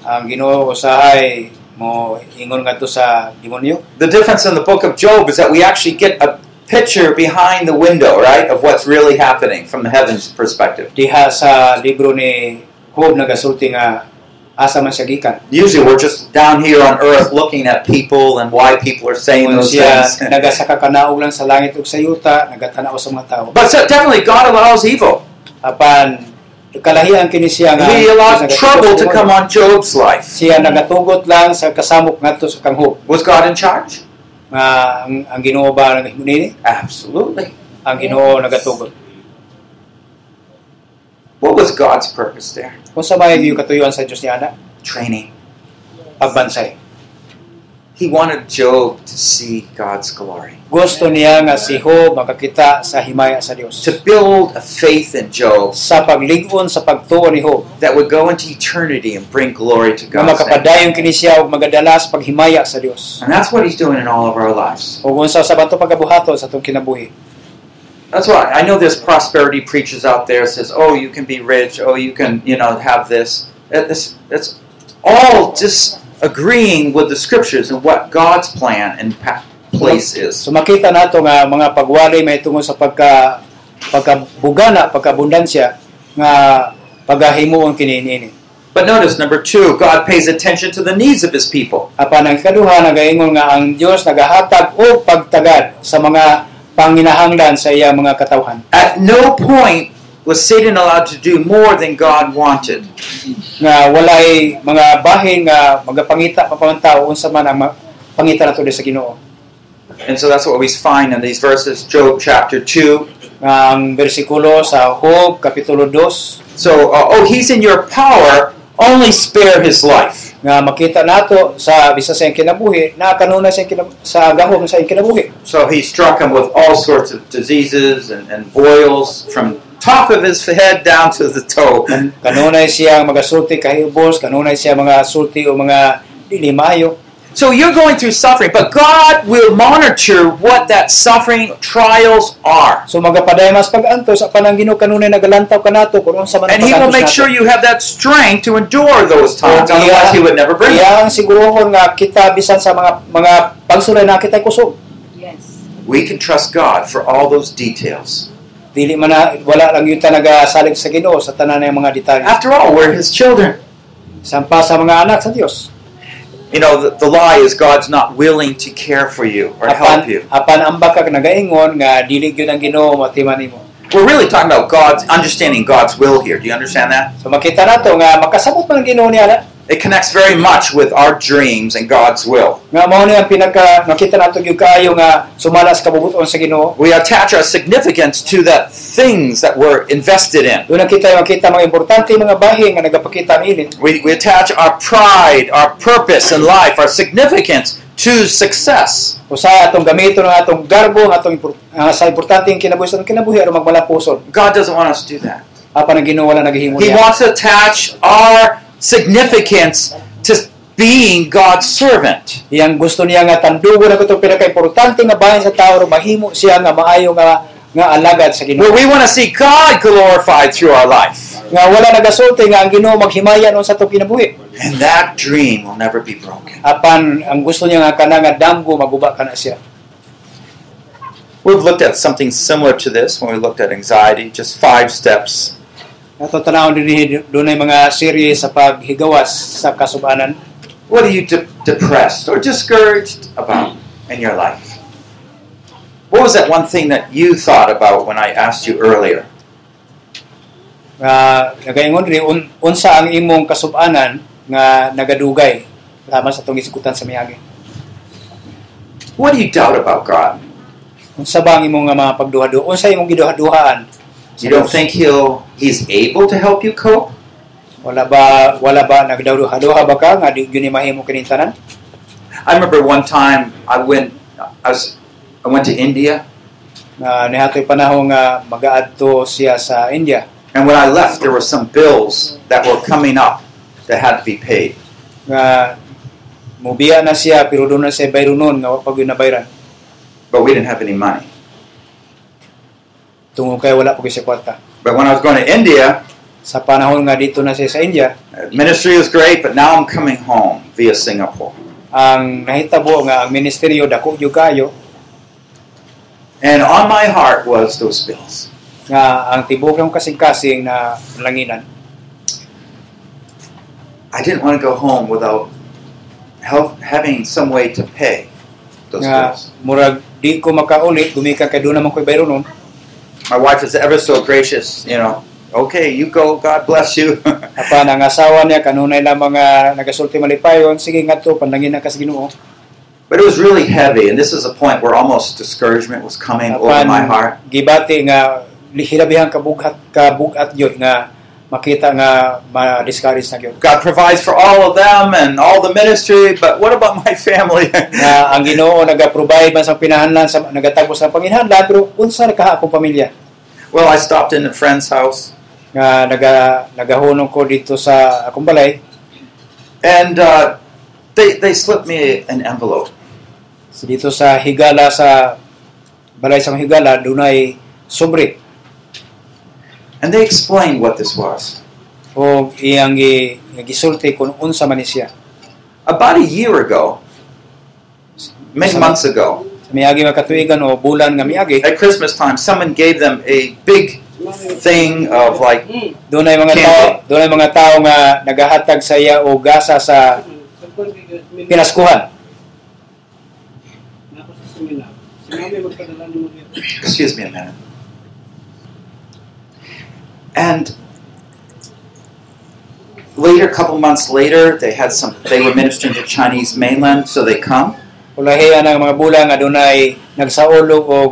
S3: ang Ginoo usahay mo ingon ngadto sa demonyo.
S1: The difference in the book of Job is that we actually get a picture behind the window, right, of what's really happening from the heavens perspective.
S3: Diha sa libro ni Job nagasulti nga asa man siya gikan.
S1: Usually we're just down here on earth looking at people and why people are saying
S3: Ingon
S1: those
S3: siya
S1: things.
S3: nagasaka kanaog lang sa langit ug sa yuta, nagatanaw sa mga tao.
S1: But so definitely God allows evil.
S3: apan kalahian kini siya nga
S1: He allowed trouble to come on Job's life.
S3: siya nagatugot lang sa kasamok ngadto sa kanghob
S1: Was God in charge?
S3: nga ang, ang Ginoo ba ang nini
S1: Absolutely.
S3: ang Ginoo nagatugot
S1: What was God's purpose there?
S3: kung sa may yung katuyuan sa Dios ni ana
S1: Training.
S3: pagbansay
S1: He wanted Job to see God's glory.
S3: gusto niya nga si Job makakita sa himaya sa Dios
S1: To build a faith in Job
S3: sa pagligon sa pagtuo ni Job
S1: that would go into eternity and bring glory to
S3: nga
S1: God.
S3: makapadayon kini siya ug magadala sa paghimaya sa Dios
S1: And that's what he's doing in all of our lives.
S3: ug unsa sa bato pagkabuhaton sa atong kinabuhi
S1: That's why I know there's prosperity preachers out there says, "Oh, you can be rich. Oh, you can, you know, have this." That's that's all just agreeing with the scriptures and what God's plan and pa- place is.
S3: So makita nato nga mga pagwalay may tungo sa pagka pagkabugana, pagkabundansya nga pagahimuon kini ini.
S1: But notice number 2, God pays attention to the needs of his people.
S3: Apan ang ikaduha nagaingon nga ang Dios nagahatag og pagtagad sa mga panginahanglan sa iya mga katawhan.
S1: At no point was Satan allowed to do more than God wanted.
S3: Nga walay mga bahin nga magapangita papamantaw unsa man ang ma- pangita nato sa Ginoo.
S1: And so that's what we find in these verses, Job chapter 2.
S3: Nga ang bersikulo sa Hob kapitulo 2
S1: So, uh, oh, he's in your power, only spare his life.
S3: nga makita nato sa bisa sa iyang kinabuhi na kanuna sa iyang kinab- sa gahom sa iyang kinabuhi.
S1: So he struck him with all sorts of diseases and, and boils from top of his head down to the toe.
S3: Kanunay siya ang mga sulti kahibos, kanunay siya mga sulti o mga limayo.
S1: So you're going through suffering, but God will monitor what that suffering trials are.
S3: So magapaday mas pag-antos apan ang Ginoo kanunay nagalantaw kanato kung unsa man
S1: And
S3: ang
S1: he will
S3: pag-antos
S1: make
S3: nato.
S1: sure you have that strength to endure those times.
S3: Yeah.
S1: Otherwise, he would never bring it.
S3: Iya ang siguruhon nga kita bisan sa mga mga pagsulay na kita kusog.
S4: Yes.
S1: We can trust God for all those details.
S3: Dili man na, wala lang yung talaga salig sa Ginoo sa tanan ng mga detalye.
S1: After all, we're his children.
S3: Sampa sa mga anak sa Dios.
S1: You know, the, the lie is God's not willing to care for you or help you.
S3: Apan apan ambak ka nagaingon nga dili gyud ang Ginoo matiman nimo.
S1: We're really talking about God's understanding God's will here. Do you understand that?
S3: So makita nato nga makasabot man ang Ginoo niya
S1: It connects very much with our dreams and God's will.
S3: nga mao ni ang pinaka makita nato gyud kaayo nga sumala sa kabubuton sa Ginoo.
S1: We attach our significance to the things that we're invested in.
S3: Doon nakita makita mga importante mga bahin nga nagapakita ang init.
S1: We, we attach our pride, our purpose in life, our significance to success.
S3: Usa atong gamito ng atong garbo ng atong impor- ah, sa importante ang kinabuhi sa atong kinabuhi aron magmalapuson.
S1: God doesn't want us to do that.
S3: apan ang Ginoo wala naghimo
S1: He
S3: niya.
S1: wants to attach our significance to being God's servant.
S3: Iyang gusto niya nga tandugo na itong pinaka-importante nga bahin sa tao ro mahimo siya nga maayo nga nga alagad sa Ginoo.
S1: Where we want to see God glorified through our life.
S3: Nga wala nagasulti nga ang Ginoo maghimaya noon sa atong kinabuhi.
S1: And that dream will never be broken.
S3: Apan ang gusto niya nga kana nga damgo maguba kana siya.
S1: We've looked at something similar to this when we looked at anxiety, just five steps.
S3: Ato tanawon dinhi dunay mga serye sa paghigawas sa kasubanan.
S1: What are you de- depressed or discouraged about in your life? What was that one thing that you thought about when I asked you earlier?
S3: Nga nagaingon ri un, unsa ang imong kasubanan nga nagadugay laman sa atong isgutan sa miagi.
S1: What do you doubt about God?
S3: Unsa ba ang imong nga mga pagduha-duha? Unsa imong giduha-duhaan?
S1: You don't think he'll he's able to help you cope?
S3: Wala ba wala ba nagduha-duha ba ka nga di gyud ni mahimo kining tanan?
S1: I remember one time I went I was I went to India
S3: Nga nihatoy panahon nga magaadto siya sa India.
S1: and when I left there were some bills that were coming up that had to be paid.
S3: Nga mubiya na siya pero doon na siya bayronon nga wa pa gyud nabayran.
S1: But we didn't have any money.
S3: Tungod kay wala pa gyud siya kwarta.
S1: But when I was going to India,
S3: Sa panahon nga dito na siya sa India,
S1: ministry was great, but now I'm coming home via Singapore.
S3: ang nahitabo nga ang ministeryo dako gyud kayo
S1: And on my heart was those bills.
S3: nga ang tibok ng kasing-kasing na langinan
S1: I didn't want to go home without help, having some way to pay those
S3: nga
S1: bills.
S3: murag di ko makauli gumikan kay doon naman ko'y bayronon
S1: My wife is ever so gracious, you know. Okay, you go. God bless you.
S3: apan ang asawa niya kanunay lamang nga nagasulti malipayon sige nga to panlanginan ka sa Ginoo
S1: but it was really heavy, and this is a point where almost discouragement was coming over
S3: Apan-
S1: my heart.
S3: gibati nga hirabihan kabughat kabugat yun nga makita nga ma-discourage na yun
S1: God provides for all of them and all the ministry, but what about my family?
S3: nga ang Ginoo naga-provide man sa pinahanlan sa nagatagos ng panginhanlan pero unsa ra ka akong pamilya
S1: well, I stopped in a friend's house.
S3: nga naga nagahunong ko dito sa akong balay
S1: and uh, they they slipped me an envelope.
S3: So, dito sa Higala sa balay sa Higala dunay sobre
S1: And they explained what this was.
S3: o iyang gi- gisulti kung unsa man ni siya
S1: About a year ago, many months ago,
S3: sa miagi nga katuigan o bulan nga miagi
S1: at Christmas time, someone gave them a big thing of like
S3: dunay mga
S1: Candy.
S3: tao dunay mga tao nga nagahatag sa iya o
S1: uh,
S3: gasa sa pinaskuhan
S1: Excuse me a minute. And later, a couple months later, they had some. They were ministering to Chinese mainland, so they come.
S3: Ulahian ang mga bulang adunay nagsaulog og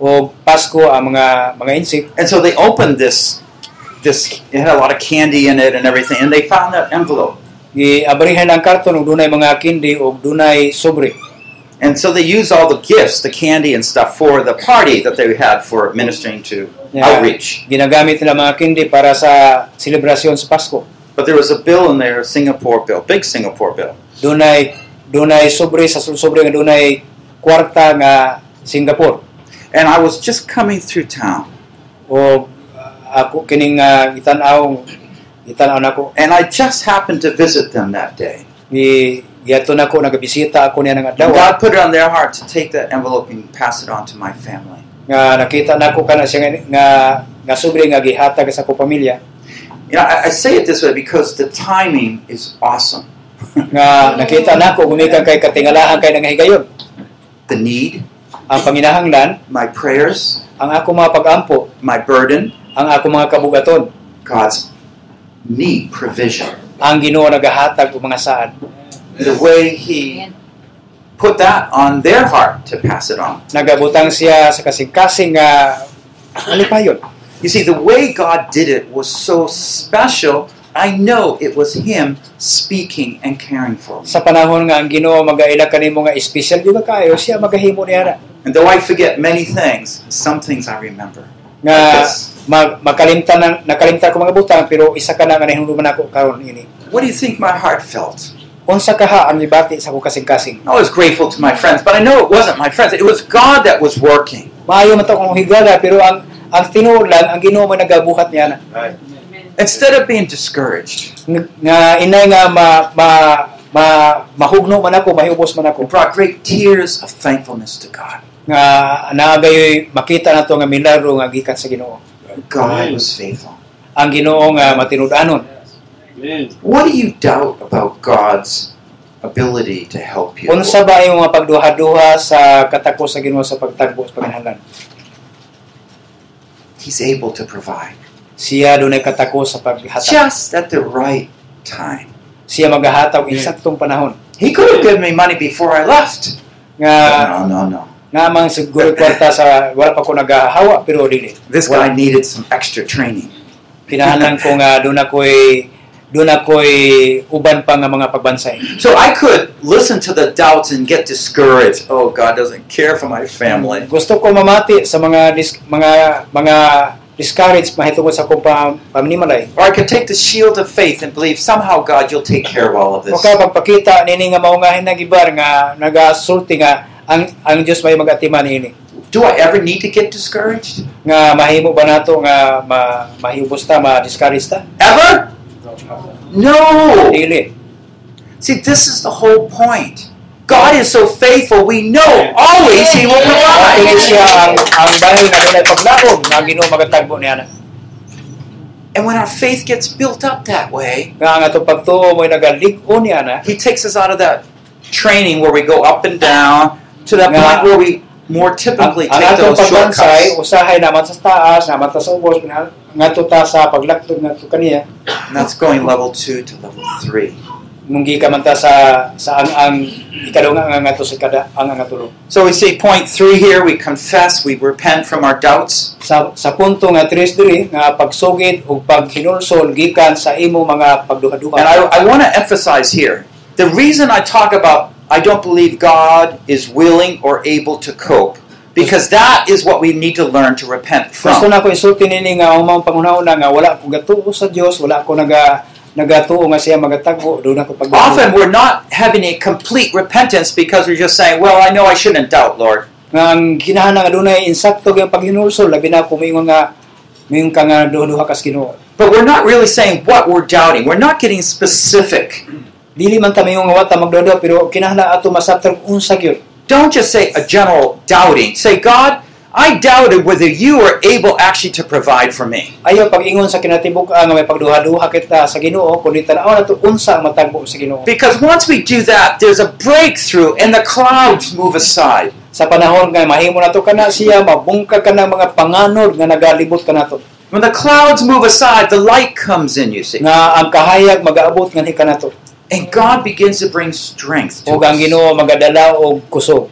S3: og Pasko ang mga mga insik
S1: And so they opened this. This it had a lot of candy in it and everything, and they found that envelope.
S3: giabrihan ang karton og dunay mga kindi og dunay sobre.
S1: And so they used all the gifts, the candy and stuff, for the party that they had for ministering to
S3: Yeah.
S1: outreach.
S3: Ginagamit nila mga kindi para sa selebrasyon sa Pasko.
S1: But there was a bill in there, a Singapore bill, big Singapore bill.
S3: Dunay dunay sobre sa sul- sobre nga dunay kwarta nga Singapore
S1: And I was just coming through town,
S3: og uh, ako kining uh, gitan-aw gitan-aw nako
S1: and I just happened to visit them that day.
S3: Gi giato nako nagabisita ako niya
S1: And
S3: ng adlaw
S1: God put it on their heart to take that envelope and pass it on to my family.
S3: nga nakita nako kana siya nga nga, nga sobre nga gihatag sa akong pamilya
S1: You know, I, I say it this way because the timing is awesome.
S3: nga nakita nako gumikan kay katingalahan kay nangahigayon
S1: the need,
S3: ang panginahanglan
S1: my prayers,
S3: ang ako mga pag-ampo
S1: my burden,
S3: ang ako mga kabugaton
S1: God's need provision.
S3: ang Ginoo nagahatag og mga saad
S1: The way He put that on their heart to pass it on.
S3: nagabutang siya sa kasing-kasing ah, nga malipayon
S1: You see, the way God did it was so special. I know it was Him speaking and caring for me.
S3: sa panahon nga ang Ginoo magaila kanimo nga special gyud kayo siya magahimo niya na.
S1: And though I forget many things, some things I remember.
S3: nga
S1: Yes.
S3: mag, magkalimtan na, nakalimtan ko mga butang pero isa ka na nga nahinumduman ako karon ini
S1: What do you think my heart felt?
S3: unsa kaha ang ibati sa akong kasing-kasing.
S1: I was grateful to my friends, but I know it wasn't my friends. It was God that was working.
S3: Maayo man ta akong higala pero ang ang tinuod lang ang Ginoo man nagabuhat niya na.
S1: Instead of being discouraged,
S3: Ng- Nga inay nga ma, ma, ma mahugno man ako, mahiubos man
S1: it
S3: ako.
S1: brought great tears of thankfulness to God.
S3: Nga naagayoy makita nato nga milagro nga gikan sa Ginoo.
S1: God was faithful.
S3: Ang Ginoo nga matinud-anon.
S1: What do you doubt about God's ability to help you?
S3: Unsa ba imong mga pagduha-duha sa katako sa Ginoo sa pagtagbo sa panginahanglan?
S1: He's able to provide
S3: Siya dunay katako sa paghatag.
S1: just at the right time.
S3: Siya magahataw insaktong panahon.
S1: He could have given me money before I left.
S3: Nga
S1: no, no, no.
S3: namang siguro kwarta sa wala pa ko nagahawa pero dili.
S1: This guy
S3: Wala.
S1: needed some extra training.
S3: Pinahanan ko nga doon ako'y doon ako'y uban pa nga mga pagbansay.
S1: So I could listen to the doubts and get discouraged. Oh, God doesn't care for my family.
S3: Gusto ko mamati sa mga dis, mga mga discourage mahitungod sa akong pa- pamnimalay.
S1: Or I could take the shield of faith and believe somehow, God, you'll take care of all of
S3: O
S1: this.
S3: ka pagpakita nini nga maungahin na gibar nga nagasulti nga ang ang Dios may magatiman ini.
S1: Do I ever need to get discouraged?
S3: Nga mahimo ba nato nga ma, mahibos ta ma-discourage ta?
S1: Ever? No.
S3: Dili.
S1: See, this is the whole point. God is so faithful, we know always He will
S3: Dili
S1: provide.
S3: siya ang ang dahil nga dunay paglaom nga Ginoo magatagbo niya na.
S1: And when our faith gets built up that way,
S3: Nga ang ato pagtuo mo'y nagalig-on niya na.
S1: He takes us out of that training where we go up and down to that point where we more
S3: Ang
S1: typically
S3: ang
S1: take
S3: atong
S1: those
S3: pagbansay,
S1: shortcuts.
S3: usahay naman sa taas, naman ta sa ubos, pina- ngadto ta sa paglaktod ngadto kaniya,
S1: And that's going level two to level three.
S3: munggi ka man ta sa sa ang ang ikadong ang ngadto sa kada ang ang tulo.
S1: So we see point three here we confess, we repent from our doubts.
S3: Sa sa punto nga tres diri nga pagsugid ug paghinulsol gikan sa imo mga pagduha-duha.
S1: And I, I want to emphasize here the reason I talk about I don't believe God is willing or able to cope, because that is what we need to learn to repent from.
S3: Gusto na ko isulti nini nga ang mga pangunauna nga wala ko gatuo sa Dios, wala ko naga nagatuo nga siya magatagbo do na ko pag
S1: Often we're not having a complete repentance because we're just saying, Well, I know I shouldn't doubt, Lord.
S3: nga ang ginahana nga dunay insakto nga paghinulsol labi na kumingon nga ngayon ka nga duha kas Ginoo.
S1: But we're not really saying what we're doubting. We're not getting specific.
S3: Dili man ta mayong nga wata magdodo pero kinahanglan ato masabtang unsa gyud.
S1: Don't just say a general doubting. Say, God, I doubted whether you were able actually to provide for me.
S3: Ayaw pag-ingon sa kinatibuk nga may pagduha-duha kita sa Ginoo kundi tan-aw nato unsa ang matagbo sa Ginoo.
S1: Because once we do that, there's a breakthrough and the clouds move aside.
S3: sa panahon nga mahimo nato kana siya mabungkag ka ng mga panganod nga nagalibot ka nato
S1: When the clouds move aside, the light comes in, you see.
S3: nga ang kahayag magaabot nga hika nato
S1: And God begins to bring strength to
S3: ug ang
S1: us.
S3: Ginoo magadala og kusog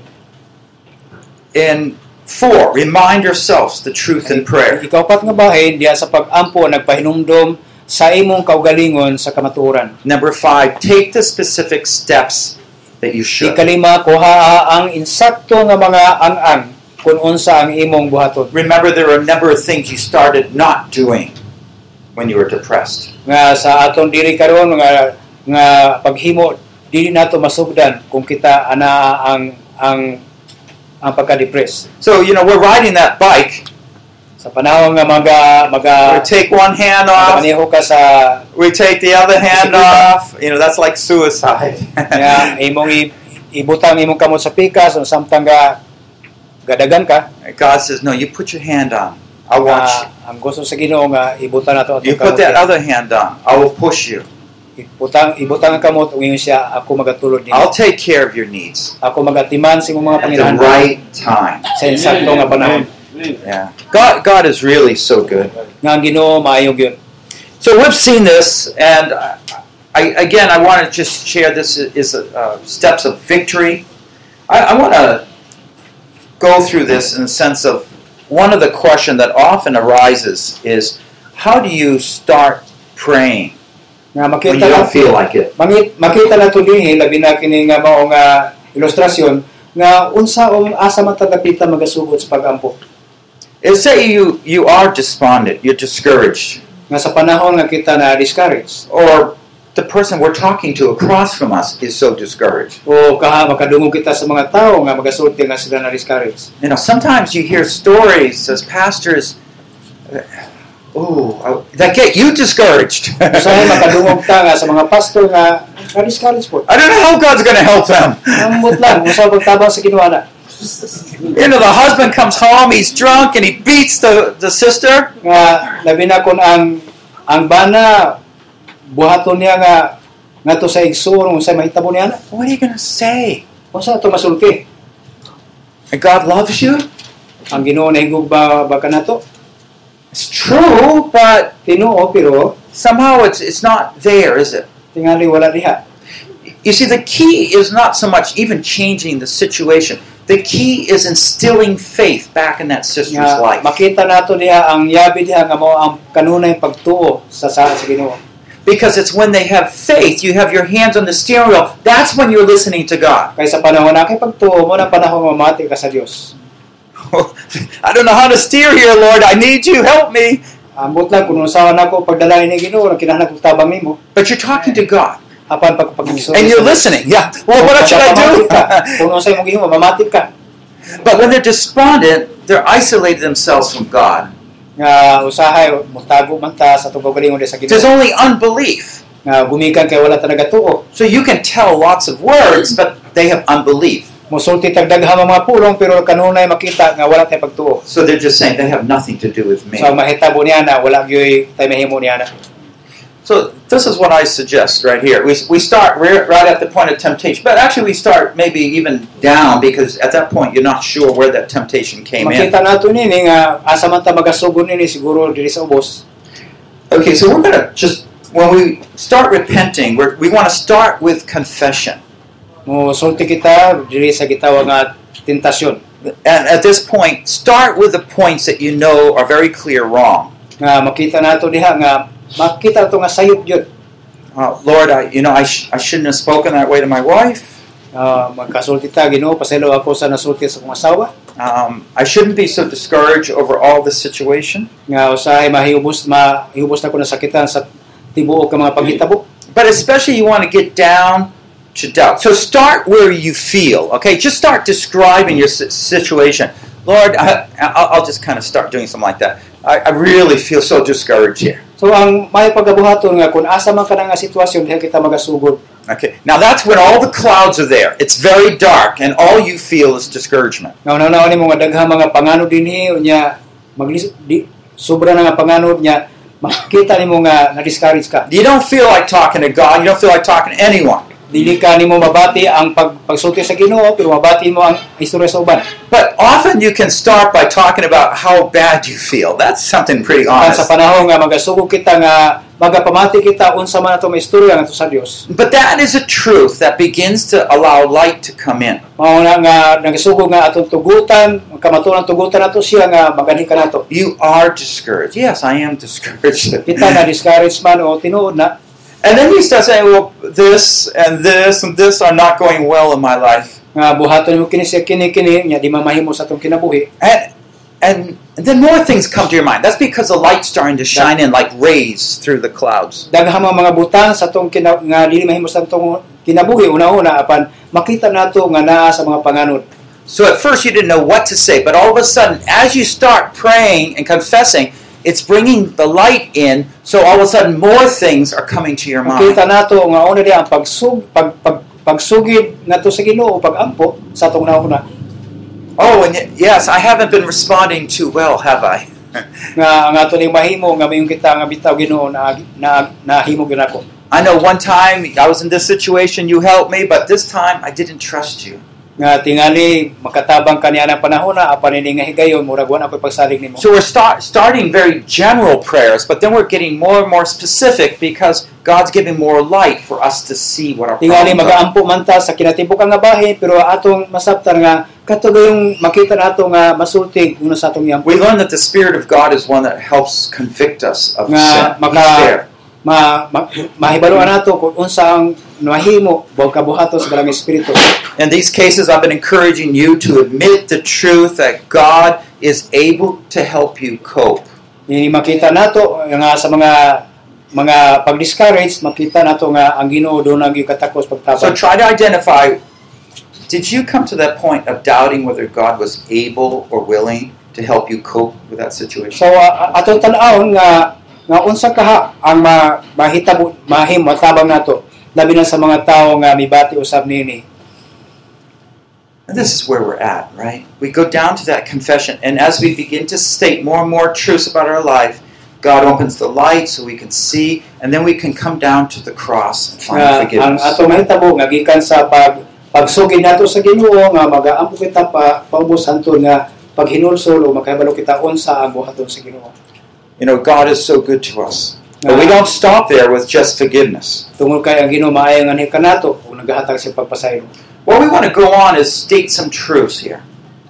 S1: And four, remind yourselves the truth in prayer.
S3: ikaw pat nga bahin diha sa pag-ampo nagpahinumdom sa imong kaugalingon sa kamatuoran
S1: Number five, take the specific steps that you should.
S3: ikalima kuha ang insakto nga mga ang-ang kung unsa ang imong buhaton
S1: Remember, there are a number of things you started not doing when you were depressed.
S3: nga sa aton diri karon nga nga paghimo dili nato masugdan kung kita ana ang ang ang pagka-depress
S1: So, you know, we're riding that bike. Uh,
S3: sa panahon nga maga maga
S1: we take one hand off,
S3: maneho ka sa
S1: we take the other hand off. You know, that's like suicide.
S3: nga imong i- ibutang imong kamot sa pikas o samtang nga gadagan ka
S1: God says, No, you put your hand on. I want
S3: nga ang gusto sa Ginoo nga ibutang nato
S1: you. You
S3: atong
S1: put that
S3: kamot
S1: other hand on. I will push you.
S3: ibutang ibutang ang kamot ug ingon siya ako magatulod ni
S1: I'll take care of your needs
S3: ako magatiman sa imong mga
S1: at the
S3: panginahan
S1: right time.
S3: sa insakto nga panahon
S1: Yeah. God, God is really so good.
S3: nga ang Ginoo maayog yun
S1: So we've seen this, and I, I, again, I want to just share this is uh, steps of victory. I, I want to go through this in the sense of one of the question that often arises is how do you start praying
S3: nga
S1: when you
S3: makita
S1: don't
S3: nato
S1: feel like it?
S3: mangit makita nato dinhi labi na kini nga mao nga ilustrasyon nga unsa o asa man tagapita magasugod sa pagampo
S1: Is say you you are despondent, you're discouraged,
S3: nga sa panahon nga kita na discourage
S1: or the person we're talking to across from us is so discouraged.
S3: o kaha makadungog kita sa mga tao nga magasulti nga sila na discourage
S1: You know, sometimes you hear stories as pastors. Oh, that get you discouraged.
S3: usahay makadungog ta nga sa mga pastor nga na discourage po
S1: I don't know how God's going to help them.
S3: ambot lang usa pagtabang sa Ginoo ana
S1: You know, the husband comes home, he's drunk, and he beats the, the sister.
S3: nga labi na kon ang ang bana buhaton niya nga nato sa igsoon unsay mahitabo niya na
S1: What are you going to say?
S3: unsa ato masulti
S1: And God loves you?
S3: ang Ginoo nahigog ba baka nato
S1: It's true, but
S3: Tinoo pero
S1: somehow it's, it's not there, is it?
S3: tingali wala diha.
S1: You see, the key is not so much even changing the situation. The key is instilling faith back in that sister's
S3: Nga,
S1: life.
S3: makita nato diha ang yabi diha nga mao ang kanunay pagtuo sa sa sa Ginoo.
S1: Because it's when they have faith, you have your hands on the steering wheel, that's when you're listening to God.
S3: Kay sa panahon na kay pagtuo mo na panahon mamati ka sa Dios.
S1: I don't know how to steer here, Lord. I need you. Help me.
S3: Ambot lang kung usawa nako pagdalain ni Ginoo ang kinahanglan kong tabang nimo
S1: But you're talking to God
S3: apan pagpagigsoon.
S1: and you're listening. Yeah. Well, what should I
S3: Kung unsay imong gihimo mamati ka.
S1: do? but when they're despondent, they're isolated themselves from God.
S3: Nga usahay motago man ta sa tugaw galingon sa
S1: There's
S3: Ginoo.
S1: only unbelief.
S3: Nga gumikan kay wala talaga tuo.
S1: So you can tell lots of words, but they have unbelief.
S3: Mosulti tagdagha mga pulong pero kanunay makita nga wala tay pagtuo.
S1: So they're just saying they have nothing to do with me.
S3: So ang mahitabo niya na wala gyoy tay mahimo niya na.
S1: So this is what I suggest right here. We, we start re- right at the point of temptation, but actually we start maybe even down because at that point you're not sure where that temptation came in.
S3: Makita nato nini nga asa man ta magasugod nini siguro diri sa ubos.
S1: Okay, so we're gonna just when we start repenting, we're, we want to start with confession,
S3: Mo sulti kita diri sa gitawag nga tentasyon
S1: and at this point, start with the points that you know are very clear wrong.
S3: nga makita nato diha nga makita nato nga sayop jud.
S1: Uh, Lord, I you know I, sh- I shouldn't have spoken that way to my wife.
S3: Ah, magkasulti ta Ginoo pasaylo ako sa nasulti sa akong asawa
S1: Um, I shouldn't be so discouraged over all this situation.
S3: nga usahay mahiubos mahiubos na ko na sakitan sa tibuok ka mga paghitabo.
S1: But especially you want to get down to doubt. So start where you feel. Okay, just start describing your si- situation. Lord, I, I'll I'll just kind of start doing something like that. I, I really feel so discouraged here.
S3: So ang may pagabuhaton nga kung asa man kana nga sitwasyon diha kita magasugod
S1: Okay. Now that's when all the clouds are there. It's very dark, and all you feel is discouragement.
S3: nga una ni mga dagha mga panganod dinhi unya maglis di sobra na nga panganod niya makita nimo nga na discourage ka
S1: You don't feel like talking to God. You don't feel like talking to anyone.
S3: dili ka nimo mabati ang pag pagsulti sa Ginoo pero mabati mo ang istorya sa uban.
S1: But often you can start by talking about how bad you feel. That's something pretty
S3: Apan
S1: honest.
S3: sa panahon nga magasugod kita nga magapamati kita unsa man ato may istorya nga sa Dios.
S1: But that is a truth that begins to allow light to come in.
S3: Mao na nga nagasugod nga atong tugutan, kamatulan tugutan nato siya nga maganhi ka nato.
S1: Oh, You are discouraged. Yes, I am discouraged.
S3: Kita na
S1: and
S3: discourage man o tinuod na
S1: then you start saying, well, this and this and this are not going well in my life.
S3: nga buhaton mo kini siya kini kini nya di mamahimo sa atong kinabuhi.
S1: And, and then more things come to your mind. That's because the light's starting to shine in like rays through the clouds.
S3: Daghang mga mga butang sa atong kina, nga dili mahimo sa atong kinabuhi una-una apan makita nato nga naa sa mga panganod.
S1: So at first you didn't know what to say, but all of a sudden, as you start praying and confessing, it's bringing the light in, so all of a sudden more things are coming to your mind.
S3: Makita nato nga una di ang pagsug pag, pag pagsugid nato sa Ginoo pagampo sa atong nauna
S1: Oh, and y- yes, I haven't been responding too well, have I?
S3: nga ang ato ning mahimo nga mayong kita nga bitaw Ginoo na na nahimo ginako.
S1: I know one time I was in this situation, you helped me, but this time I didn't trust you.
S3: Nga tingali makatabang kaniya ng panahona apan ini nga higayon murag wala ako'y pagsalig nimo.
S1: So we're start, starting very general prayers, but then we're getting more and more specific because God's giving more light for us to see what our
S3: Tingali
S1: problems are.
S3: magaampo man ta sa kinatibukan nga bahin pero atong masabtan nga katugayong makita nato nga masulti una sa atong iampo.
S1: We learn that the Spirit of God is one that helps convict us of
S3: Nga
S1: sin. He's
S3: maka
S1: there.
S3: ma, ma, mahibaluan nato kung unsa ang nahimo buhaw kabuhaton sa Barangay Espiritu.
S1: In these cases, I've been encouraging you to admit the truth that God is able to help you cope.
S3: Ini makita nato nga sa mga mga pag-discourage, makita nato nga ang Ginoo doon ang iyong katakos
S1: So
S3: pagtabang.
S1: try to identify did you come to that point of doubting whether God was able or willing to help you cope with that situation?
S3: So a- a- atong tan-awon nga nga unsa kaha ang ma, mahitabo mahim matabang nato labi na sa mga tawo nga mibati usab nini.
S1: And this is where we're at, right? We go down to that confession, and as we begin to state more and more truths about our life, God opens the light so we can see, and then we can come down to the cross and find
S3: nga ang
S1: forgiveness.
S3: ato mahitabo nga gikan sa pag pagsugid nato sa Ginoo nga magaampo kita pa paubos hantod nga paghinulsol o makahibalo kita unsa ang buhaton sa Ginoo.
S1: You know, God is so good to us. But we
S3: Nga
S1: don't stop there with just forgiveness.
S3: tungod kay ang Ginoo maayo nga nika nato kung nagahatag sa pagpasaylo.
S1: What we want to go on is state some truths here.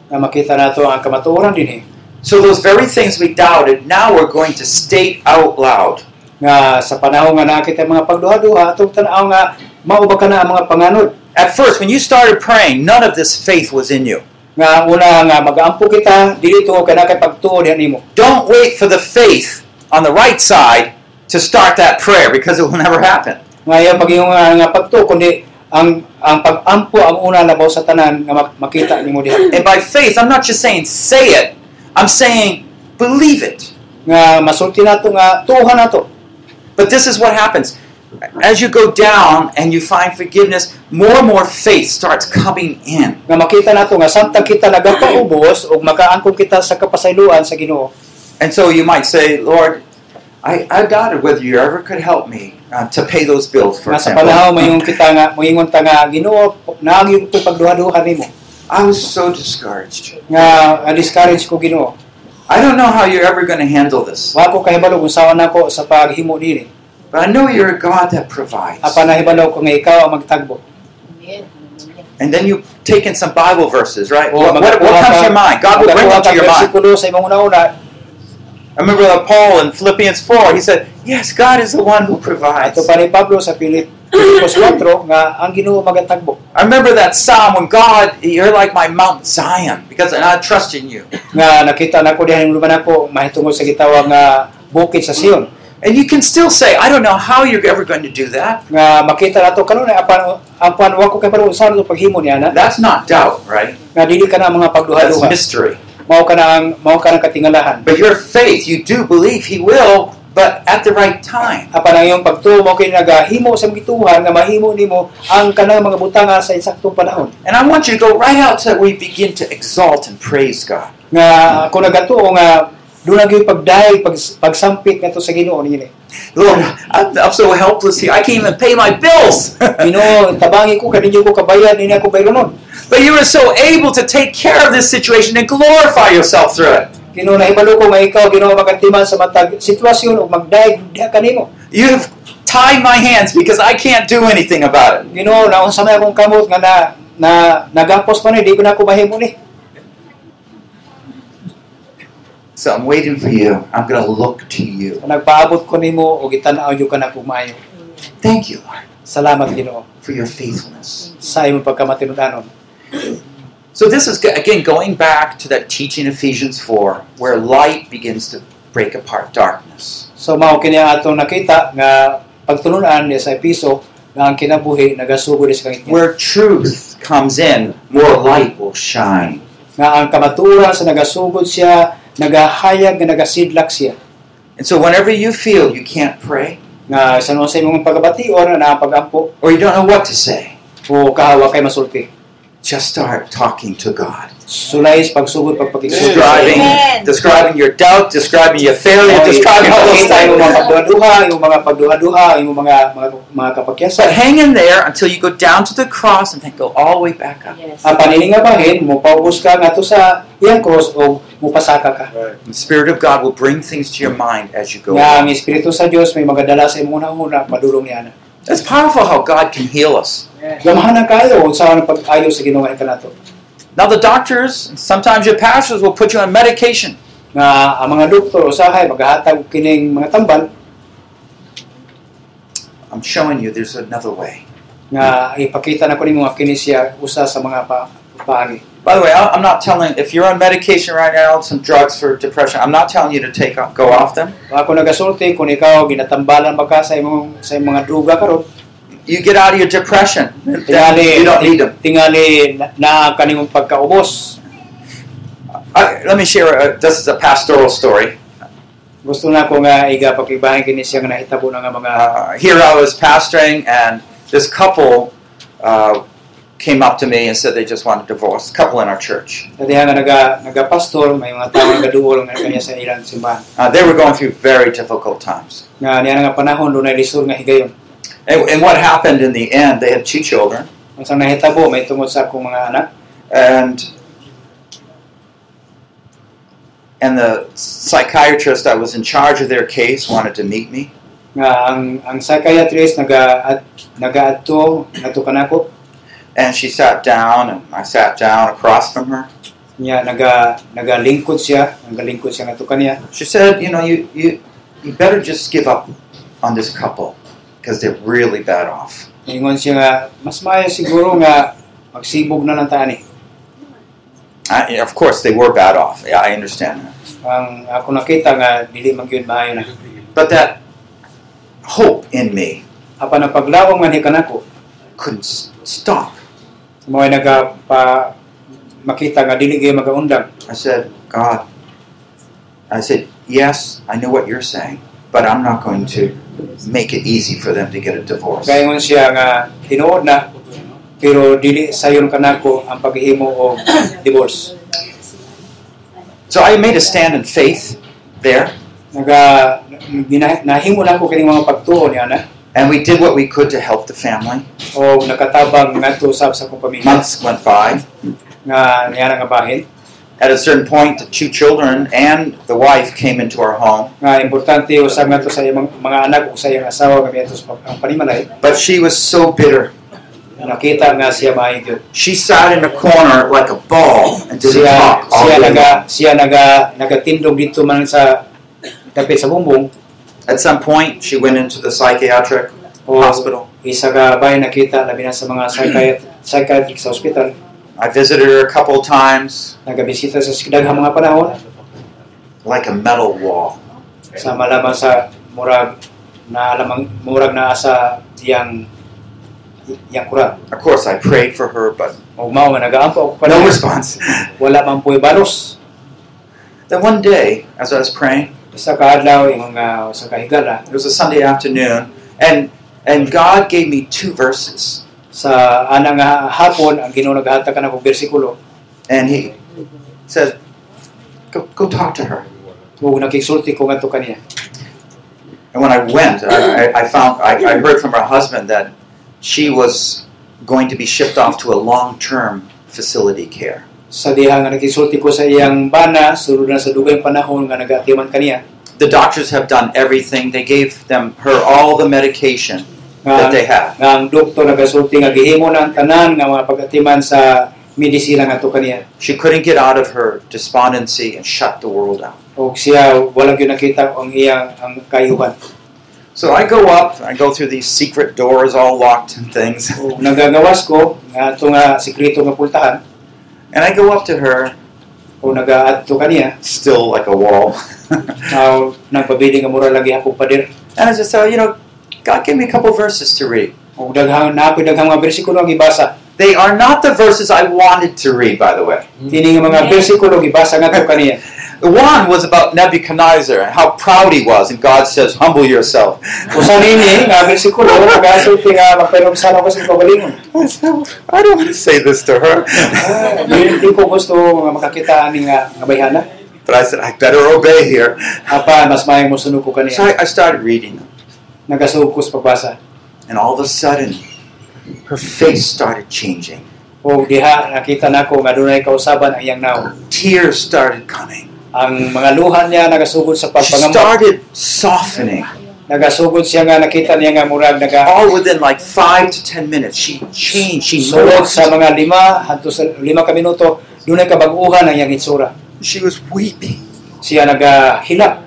S3: Nga makita nato ang kamatuoran eh. dinhi
S1: So those very things we doubted, now we're going to state out loud.
S3: nga sa panahon nga nakita ang mga pagduha-duha atong tan-aw nga mao ba kana ang mga panganod
S1: At first, when you started praying, none of this faith was in you.
S3: nga una nga magaampo kita dili tuo kana kay pagtuo diha nimo
S1: Don't wait for the faith on the right side to start that prayer because it will never happen.
S3: nga iya pag iyong ah, nga, nga pagtuo kundi ang ang pagampo ang una labaw sa tanan nga mak- makita nimo diha
S1: And by faith, I'm not just saying say it, I'm saying believe it.
S3: nga masulti nato nga tuohan nato
S1: But this is what happens. As you go down and you find forgiveness, more and more faith starts coming in.
S3: nga makita nato nga samtang kita nagakaubos ug makaangkon kita sa kapasayloan sa Ginoo
S1: And so you might say, Lord, I, I doubted whether you ever could help me uh, to pay those bills, for
S3: nga sa
S1: example.
S3: panahon mayong kita nga moingon ta nga Ginoo naagi ko pagduha-duha nimo
S1: I was so discouraged.
S3: nga ah, discourage ko Ginoo
S1: I don't know how you're ever going to handle this,
S3: wa ko kahibalo kung sawa nako sa paghimo dili
S1: but I know you're a God that provides.
S3: apan nahibalo ko nga ikaw ang magtagbo
S1: And then you take in some Bible verses, right?
S3: Oh,
S1: what, what, what
S3: magkakuha
S1: comes to
S3: ka-
S1: your mind? God will bring them
S3: Nagkuha
S1: to
S3: ka
S1: your mind.
S3: bersikulo sa imong una-una
S1: I remember that Paul in Philippians 4, he said, Yes, God is the one who provides.
S3: ato pa ni Pablo sa Pilip Pilipos 4 nga ang Ginoo magatagbo
S1: I remember that psalm when God, you're like my Mount Zion, because and I trust in you.
S3: nga nakita nako diha ning luman ako mahitungod sa gitawag nga bukid sa Sion
S1: And you can still say, I don't know how you're ever going to do that.
S3: nga makita nato kanunay apan apan wa ko kay parang usahan to paghimo niya na
S1: That's not doubt, right?
S3: nga dili ka na ang mga
S1: That's
S3: pagduha-duha
S1: mystery.
S3: mao ka na ang mao ka na katingalahan
S1: But your faith, you do believe He will, but at the right time.
S3: apan ang iyong pagtuo mao kay nagahimo sa gituhan nga mahimo nimo ang kanang mga butanga sa insaktong panahon
S1: And I want you to go right out so that we begin to exalt and praise God.
S3: nga ako nagatuo nga dunag yung pagdahil pag, pagsampit nga to sa Ginoo nini
S1: Lord, I'm, I'm so helpless here. I can't even pay my bills.
S3: Ginoo, tabangi ko kadinyo ko kabayan ini ako bayronon.
S1: But you are so able to take care of this situation and glorify yourself through it.
S3: Ginoo nahibalo ko nga ikaw Ginoo makantiman sa matag sitwasyon ug magdayeg diha kanimo.
S1: You have tied my hands because I can't do anything about it.
S3: Ginoo naunsa may akong kamot nga na na nagampos pa ni di ko na ko mahimo ni.
S1: So I'm waiting for you. I'm going to look to you.
S3: Nagpaabot ko nimo og gitan-aw yo kana kumayo.
S1: Thank you, Lord,
S3: Salamat Ginoo
S1: for your faithfulness.
S3: sa imong pagkamatinudanon.
S1: So this is, again, going back to that teaching in Ephesians 4, where light begins to break apart darkness.
S3: So mao kini ang atong nakita nga pagtulunan niya sa piso nga ang kinabuhi nagasugod sa kangitnya.
S1: Where truth comes in, more light will shine.
S3: Nga ang kamatuoran sa nagasugod siya, nagahayag nga nagasidlak siya.
S1: And so whenever you feel you can't pray,
S3: Nga sa noon sa imong pagabation na pagampo
S1: or you don't know what to say,
S3: o kahawa kay masulti.
S1: just start talking to God.
S3: Sulay sa pagsugod pagpakisulti.
S1: Describing,
S4: Amen.
S1: describing your doubt, describing your failure, describing all those
S3: Makita yung mga
S1: things.
S3: pagduha-duha, yung mga pagduha-duha, yung mga mga, mga
S1: But
S3: kapakyasan.
S1: hang in there until you go down to the cross and then go all the way back up.
S4: Yes.
S3: Ang paningabahin, mupaubos ka nga to sa iyang cross o mupasaka ka.
S1: The Spirit of God will bring things to your mind as you go.
S3: Nga ang Espiritu sa Dios may magadala sa imong una-una, madulong niya na.
S1: It's powerful how God can heal us.
S3: Gamahan ang kayo kung saan ang pag-ayo sa ginawa ka nato.
S1: Now the doctors, and sometimes your pastors will put you on medication.
S3: Nga ang mga doktor usahay maghahatag og kining mga tamban
S1: I'm showing you there's another way.
S3: nga ipakita na ko nimo nga kini siya usa sa mga pa paagi.
S1: By the way, I- I'm not telling if you're on medication right now, some drugs for depression. I'm not telling you to take off, go off them.
S3: Ako nagasulti kung ikaw ginatambalan ba ka sa imong sa imong mga druga karon.
S1: You get out of your depression. Then
S3: Tingali
S1: you don't need them.
S3: tingali na, na kanimong pagkaubos.
S1: I, let me share. A, this is a pastoral story.
S3: Gusto na ko nga iga pakibahin kini siya nga nahitabo na nga mga
S1: Uh, here I was pastoring, and this couple uh, came up to me and said they just want a divorce. Couple in our church.
S3: dadiha nga naga nagapastor may mga tao nga duol nga kaniya sa ilang simbahan.
S1: Uh, they were going through very difficult times.
S3: Nga niya nga panahon dunay lisod nga higayon.
S1: And, and what happened in the end? They had two children,
S3: Unsang nahitabo may tungod sa akong mga anak
S1: and and the psychiatrist I was in charge of their case wanted to meet me.
S3: nga ang ang psychiatrist naga at, nagaadto nato kanako
S1: And she sat down, and I sat down across from her.
S3: niya naga nagalingkod siya nagalingkod siya nato kaniya
S1: She said, "You know, you you you better just give up on this couple because they're really bad off."
S3: ingon siya nga mas maayo siguro nga magsibog na lang tani
S1: I, of course, they were bad off. Yeah, I understand that.
S3: ang ako nakita nga dili man gyud maayo na
S1: But that hope in me
S3: apan ang paglawom nga ni kanako
S1: couldn't s- stop.
S3: mao naga pa makita nga dili gyud magaundang
S1: I said, God, I said, yes, I know what you're saying, but I'm not going to make it easy for them to get a divorce.
S3: kay ingon siya nga hinuod na pero dili sayon kanako ang paghimo og divorce
S1: So I made a stand in faith there,
S3: naga gina- nahimo na ko kining mga pagtuo niya na
S1: and we did what we could to help the family.
S3: o nakatabang ngadto usab sa akong pamilya
S1: Months went by.
S3: nga niya nga bahin
S1: At a certain point, the two children and the wife came into our home,
S3: nga importante usab ngadto sa iyang mga- mga anak ug sa iyang asawa nga miadto sa pag- ang panimalay
S1: but she was so bitter.
S3: nakita nga siya maayo gyud
S1: She sat in a corner like a ball and didn't
S3: siya
S1: talk all
S3: siya
S1: day
S3: naga
S1: long.
S3: siya naga nagatindog dito man sa kapit sa bumbong
S1: At some point, she went into the psychiatric
S3: o
S1: hospital.
S3: isa ka bay nakita labi na sa mga psychiat- psychiatric sa ospital
S1: I visited her a couple times,
S3: nagabisita sa daghang mga panahon
S1: like a metal wall.
S3: sama lamang sa murag na alamang murag na asa yang yang kurat
S1: Of course, I prayed for her, but
S3: o mao nga nagaampo ako pa
S1: no response.
S3: wala man po'y balos
S1: then one day, as I was praying,
S3: isa ka adlaw ingon nga eh, sa kahigala
S1: it was a Sunday afternoon, and and God gave me two verses,
S3: sa ana nga hapon ang Ginoo naghatag ka na kog bersikulo
S1: and He said, "Go, go talk to her."
S3: ug nakisulti ko ngadto kaniya
S1: And And when I went, I, I- I found I, I heard from her husband that she was going to be shipped off to a long-term facility care.
S3: Sa diha nga nakisulti ko sa iyang bana, sulod na sa dugay panahon nga nagatiman kaniya.
S1: The doctors have done everything. They gave them her all the medication that
S3: Nga,
S1: they had.
S3: nga ang doktor nagasulti nga gihimo na ang tanan nga mga pagatiman sa medisina nga to kaniya.
S1: She couldn't get out of her despondency and shut the world out.
S3: O siya, walang yun nakita ang iyang ang kayuhan.
S1: So I go up, I go through these secret doors all locked and things.
S3: O nagagawas ko, nga ito nga sikreto nga pultahan,
S1: And I go up to her,
S3: o nagaadto kaniya,
S1: still like a wall.
S3: uh, nagpabili nga mura lagi hapong padir.
S1: And I just tell her, you know, God gave me a couple verses to read.
S3: O daghang napoy daghang mga bersikulo ang ibasa.
S1: They are not the verses I wanted to read, by the way.
S3: Kini nga mga bersikulo ang ibasa nga to kaniya.
S1: One was about Nebuchadnezzar and how proud he was, and God says, humble yourself.
S3: Usa nini nga bersikulo nagasulti nga magpainumsala ko sa kabalingon.
S1: I said, I don't want to say this to her.
S3: Ah, Di di ko gusto nga makakita ani nga nga bayhana.
S1: but I said, I better obey here.
S3: Apa mas maayong mosunod ko
S1: So
S3: kaniya.
S1: I, I started reading them,
S3: Nagasuog ko sa pagbasa.
S1: and all of a sudden, her face started changing.
S3: O diha nakita nako nga dunay kausaban ang iyang nawo.
S1: Tears started coming.
S3: Ang mga luha niya nagasugod sa
S1: She
S3: pagpangamot.
S1: started softening.
S3: Nagasugod siya nga nakita niya nga murag naga
S1: All within like five to ten minutes, she changed. She
S3: Sulod
S1: moved.
S3: sa mga lima, hanto sa lima ka minuto, dunay kabaguhan ang iyang itsura.
S1: She was weeping,
S3: Siya nagahilap,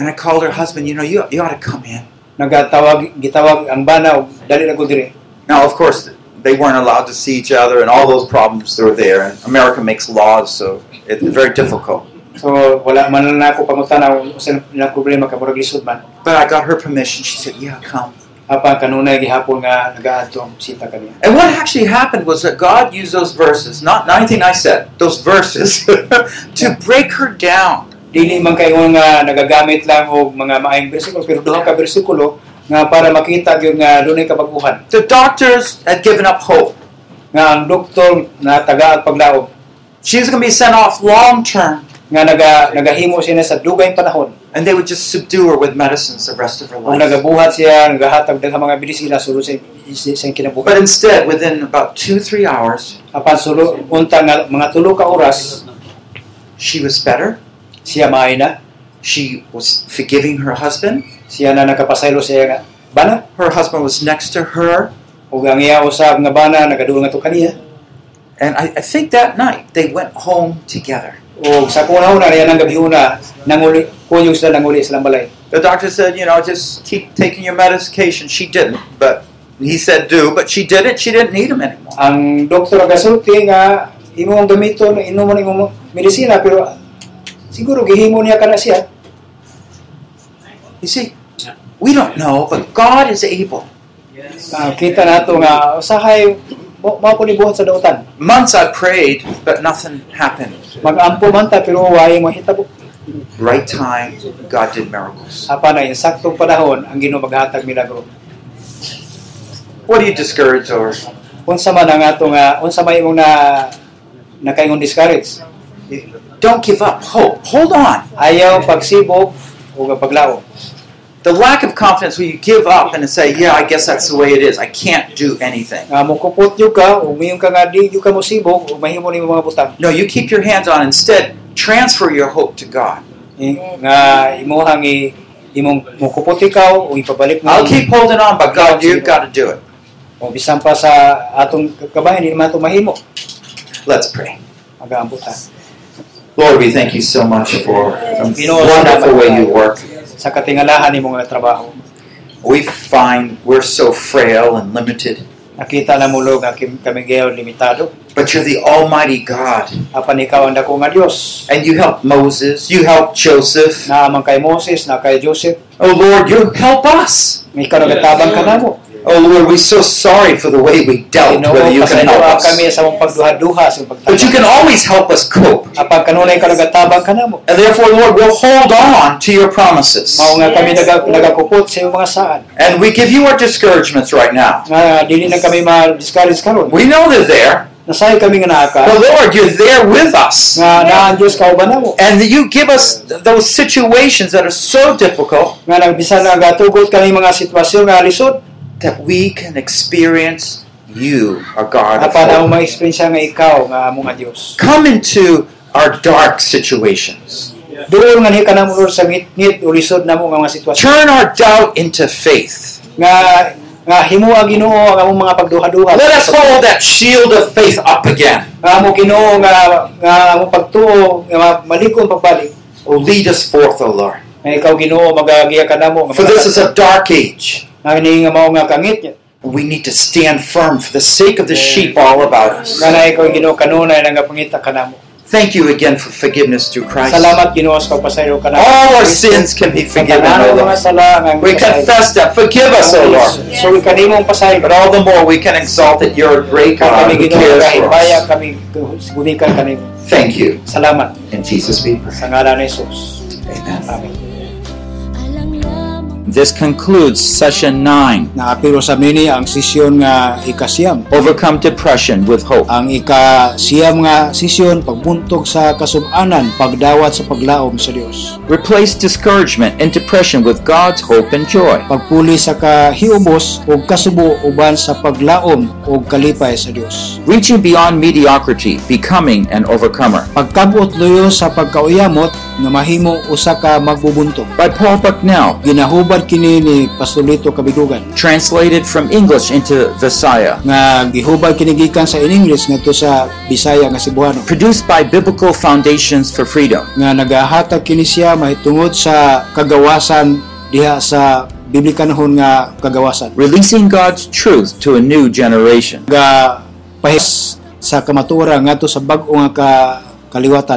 S1: and I called her husband. You know, you you ought to come in.
S3: nagatawag, gitawag ang bana o dali na ko dire.
S1: Now, of course, they weren't allowed to see each other, and all those problems that were there. And America makes laws, so it's very difficult.
S3: So wala man lang na ako pangutanaw sa ilang problema ka murag lisod man.
S1: But I got her permission. She said, "Yeah, come."
S3: Apa kanunay gihapon nga nagaadtong sita kaniya.
S1: And what actually happened was that God used those verses, not, not anything I said, those verses, to break her down.
S3: Dili man kayo nga nagagamit lang og mga maayong bersikulo pero duha ka bersikulo nga para makita gyud nga dunay kabaguhan
S1: The doctors had given up hope.
S3: nga ang doktor na taga at paglaob
S1: She was going to be sent off long term,
S3: nga naga nagahimo siya na sa dugay panahon
S1: and they would just subdue her with medicines the rest of her
S3: Kung
S1: life.
S3: nagabuhat siya, nagahatag ng mga bilisila, sulod sa sa
S1: But
S3: kinabuhi.
S1: instead, within about two, three hours,
S3: Apan sulod, unta nga mga tulo ka oras,
S1: she was better.
S3: siya maay na,
S1: She was forgiving her husband.
S3: siya na nakapasaylo siya nga, bana,
S1: Her husband was next to her.
S3: o ang iya usab nga bana, nagaduol nga to kaniya.
S1: And I, I think that night they went home together.
S3: O sa kunahon, ariyan ang gabi una, nanguli, kunyong sila nanguli silang balay.
S1: The doctor said, you know, just keep taking your medication. She didn't, but he said do, but she didn't. She didn't need him anymore.
S3: Ang doktor agasulti nga, imo ang gamito, inumon imo medisina, pero siguro gihimo niya kana siya.
S1: You see, we don't know, but God is able.
S3: Ah, kita nato nga, usahay, mo ko ni buhat sa dautan.
S1: Months I prayed, but nothing happened.
S3: Mag-ampo man ta pero waay mo hitabo.
S1: Right time, God did miracles.
S3: Apa na insaktong panahon ang Ginoo maghatag milagro.
S1: What are you discouraged over?
S3: Unsa man ang ato nga unsa may imong na nakaingon discourage.
S1: Don't give up. Hope. Hold on.
S3: Ayaw pagsibok o nga paglaom.
S1: The lack of confidence when you give up and say, yeah, I guess that's the way it is. I can't do anything.
S3: Nga mukupot yo ka o mayong ka nga di yo ka mosibok o mahimo nimo mga butang.
S1: No, you keep your hands on. Instead, transfer your hope to God.
S3: Eh, Nga imuhang i imong mukupot ikaw o ipabalik mo.
S1: I'll keep holding on, but God, you've got to do it.
S3: O bisan pa sa atong kabahin hindi man ato mahimo.
S1: Let's pray.
S3: Mag-aampo ta.
S1: Lord, we thank you so much for the
S3: Pinoy,
S1: wonderful
S3: salamat
S1: way
S3: tayo.
S1: you work.
S3: Sa katingalahan imong nga trabaho.
S1: We find we're so frail and limited,
S3: Nakita na mo lo nga kim- kami gayon limitado.
S1: but you're the Almighty God.
S3: apan ikaw ang dako nga Dios
S1: And you help Moses, you help Joseph.
S3: na amang kay Moses na kay Joseph
S1: Oh Lord, you help us.
S3: may ikaw nagatabang ka namo
S1: Oh Lord, we're so sorry for the way we dealt,
S3: Ginoo
S1: whether you can help
S3: kasayloa
S1: us.
S3: kami sa mong pagduha-duha sa
S1: But you
S3: pagtabang
S1: can always help us cope.
S3: apan kanunay ka nagatabang ka namo
S1: And therefore, Lord, we'll hold on to your promises.
S3: mao nga kami
S4: Yes,
S3: naga,
S4: Lord.
S3: nagakupot sa iyong mga saan
S1: And we give you our discouragements right now.
S3: nga dili na kami ma-discourage karon
S1: We know they're there,
S3: Nasayo kami nga naaka.
S1: But Lord, you're there with us.
S3: Nga naan Diyos kauban namo.
S1: And you give us those situations that are so difficult
S3: Nga nagbisa na gatugot kami mga sitwasyon nga lisod.
S1: that we can experience you, our God. Of
S3: Apan ang
S1: hope.
S3: ma-experience nga ikaw nga among nga Diyos.
S1: Come into our dark situations.
S3: Doon nga ni ka namo Lord, sa ngit-ngit o lisod namo nga mga sitwasyon.
S1: Turn our doubt into faith.
S3: Nga nga himuha Ginoo ang among mga pagduha-duha.
S1: Let us hold that shield of faith up again.
S3: Nga among Ginoo nga nga among pagtuo nga ma- malikon pagbalik.
S1: Oh, lead us forth, O Lord.
S3: Nga ikaw Ginoo magagiya ka namo.
S1: For this is a dark age.
S3: Nga ini nga mao nga kangit niya.
S1: We need to stand firm for the sake of the sheep all about us.
S3: Nga na ikaw Ginoo kanunay nga pangita ka namo.
S1: Thank you again for forgiveness through Christ.
S3: Salamat Ginoo sa pagpasayro ka namo.
S1: All our sins can be forgiven, O
S3: Pagkatanaw mga
S1: Lord.
S3: sala nga
S1: We confess that. Forgive us, O Lord.
S3: So we kanimong pasay
S1: But all the more we can exalt that you're a great God
S3: kami
S1: who
S3: Ginoo
S1: cares
S3: kahit
S1: for
S3: baya
S1: us.
S3: kami gunikan kanimo.
S1: Thank you.
S3: Salamat
S1: In Jesus' name,
S3: sa ngalan ni Jesus.
S1: amen.
S3: Amen.
S4: alang lamang
S5: This concludes session 9
S2: Naapiro sa mini ang sisyon nga ikasiyam.
S5: Overcome Depression with Hope.
S2: Ang ikasiyam nga sisyon pagbuntog sa kasub-anan, pagdawat sa paglaom sa Dios.
S5: Replace discouragement and depression with God's hope and joy.
S2: Pagpuli sa kahiubos ug kasubo uban sa paglaom ug kalipay sa Dios.
S5: Reaching beyond mediocrity, becoming an overcomer.
S2: Pagkabot luyo sa pagkauyamot nga mahimo usa ka magbubuntog.
S5: By Paul Bucknell,
S2: Ginahubad kini ni Pastolito Kabidugan.
S5: translated from English into Visaya.
S2: nga gihubad kini gikan sa in English ngadto sa Bisaya nga Cebuano
S5: Produced by Biblical Foundations for Freedom.
S2: nga nagahatag kini siya mahitungod sa kagawasan diha sa biblikanhon nga kagawasan
S5: Releasing God's truth to a new generation.
S2: nga pahis sa kamatura ngadto sa bag-o nga ka kaliwatan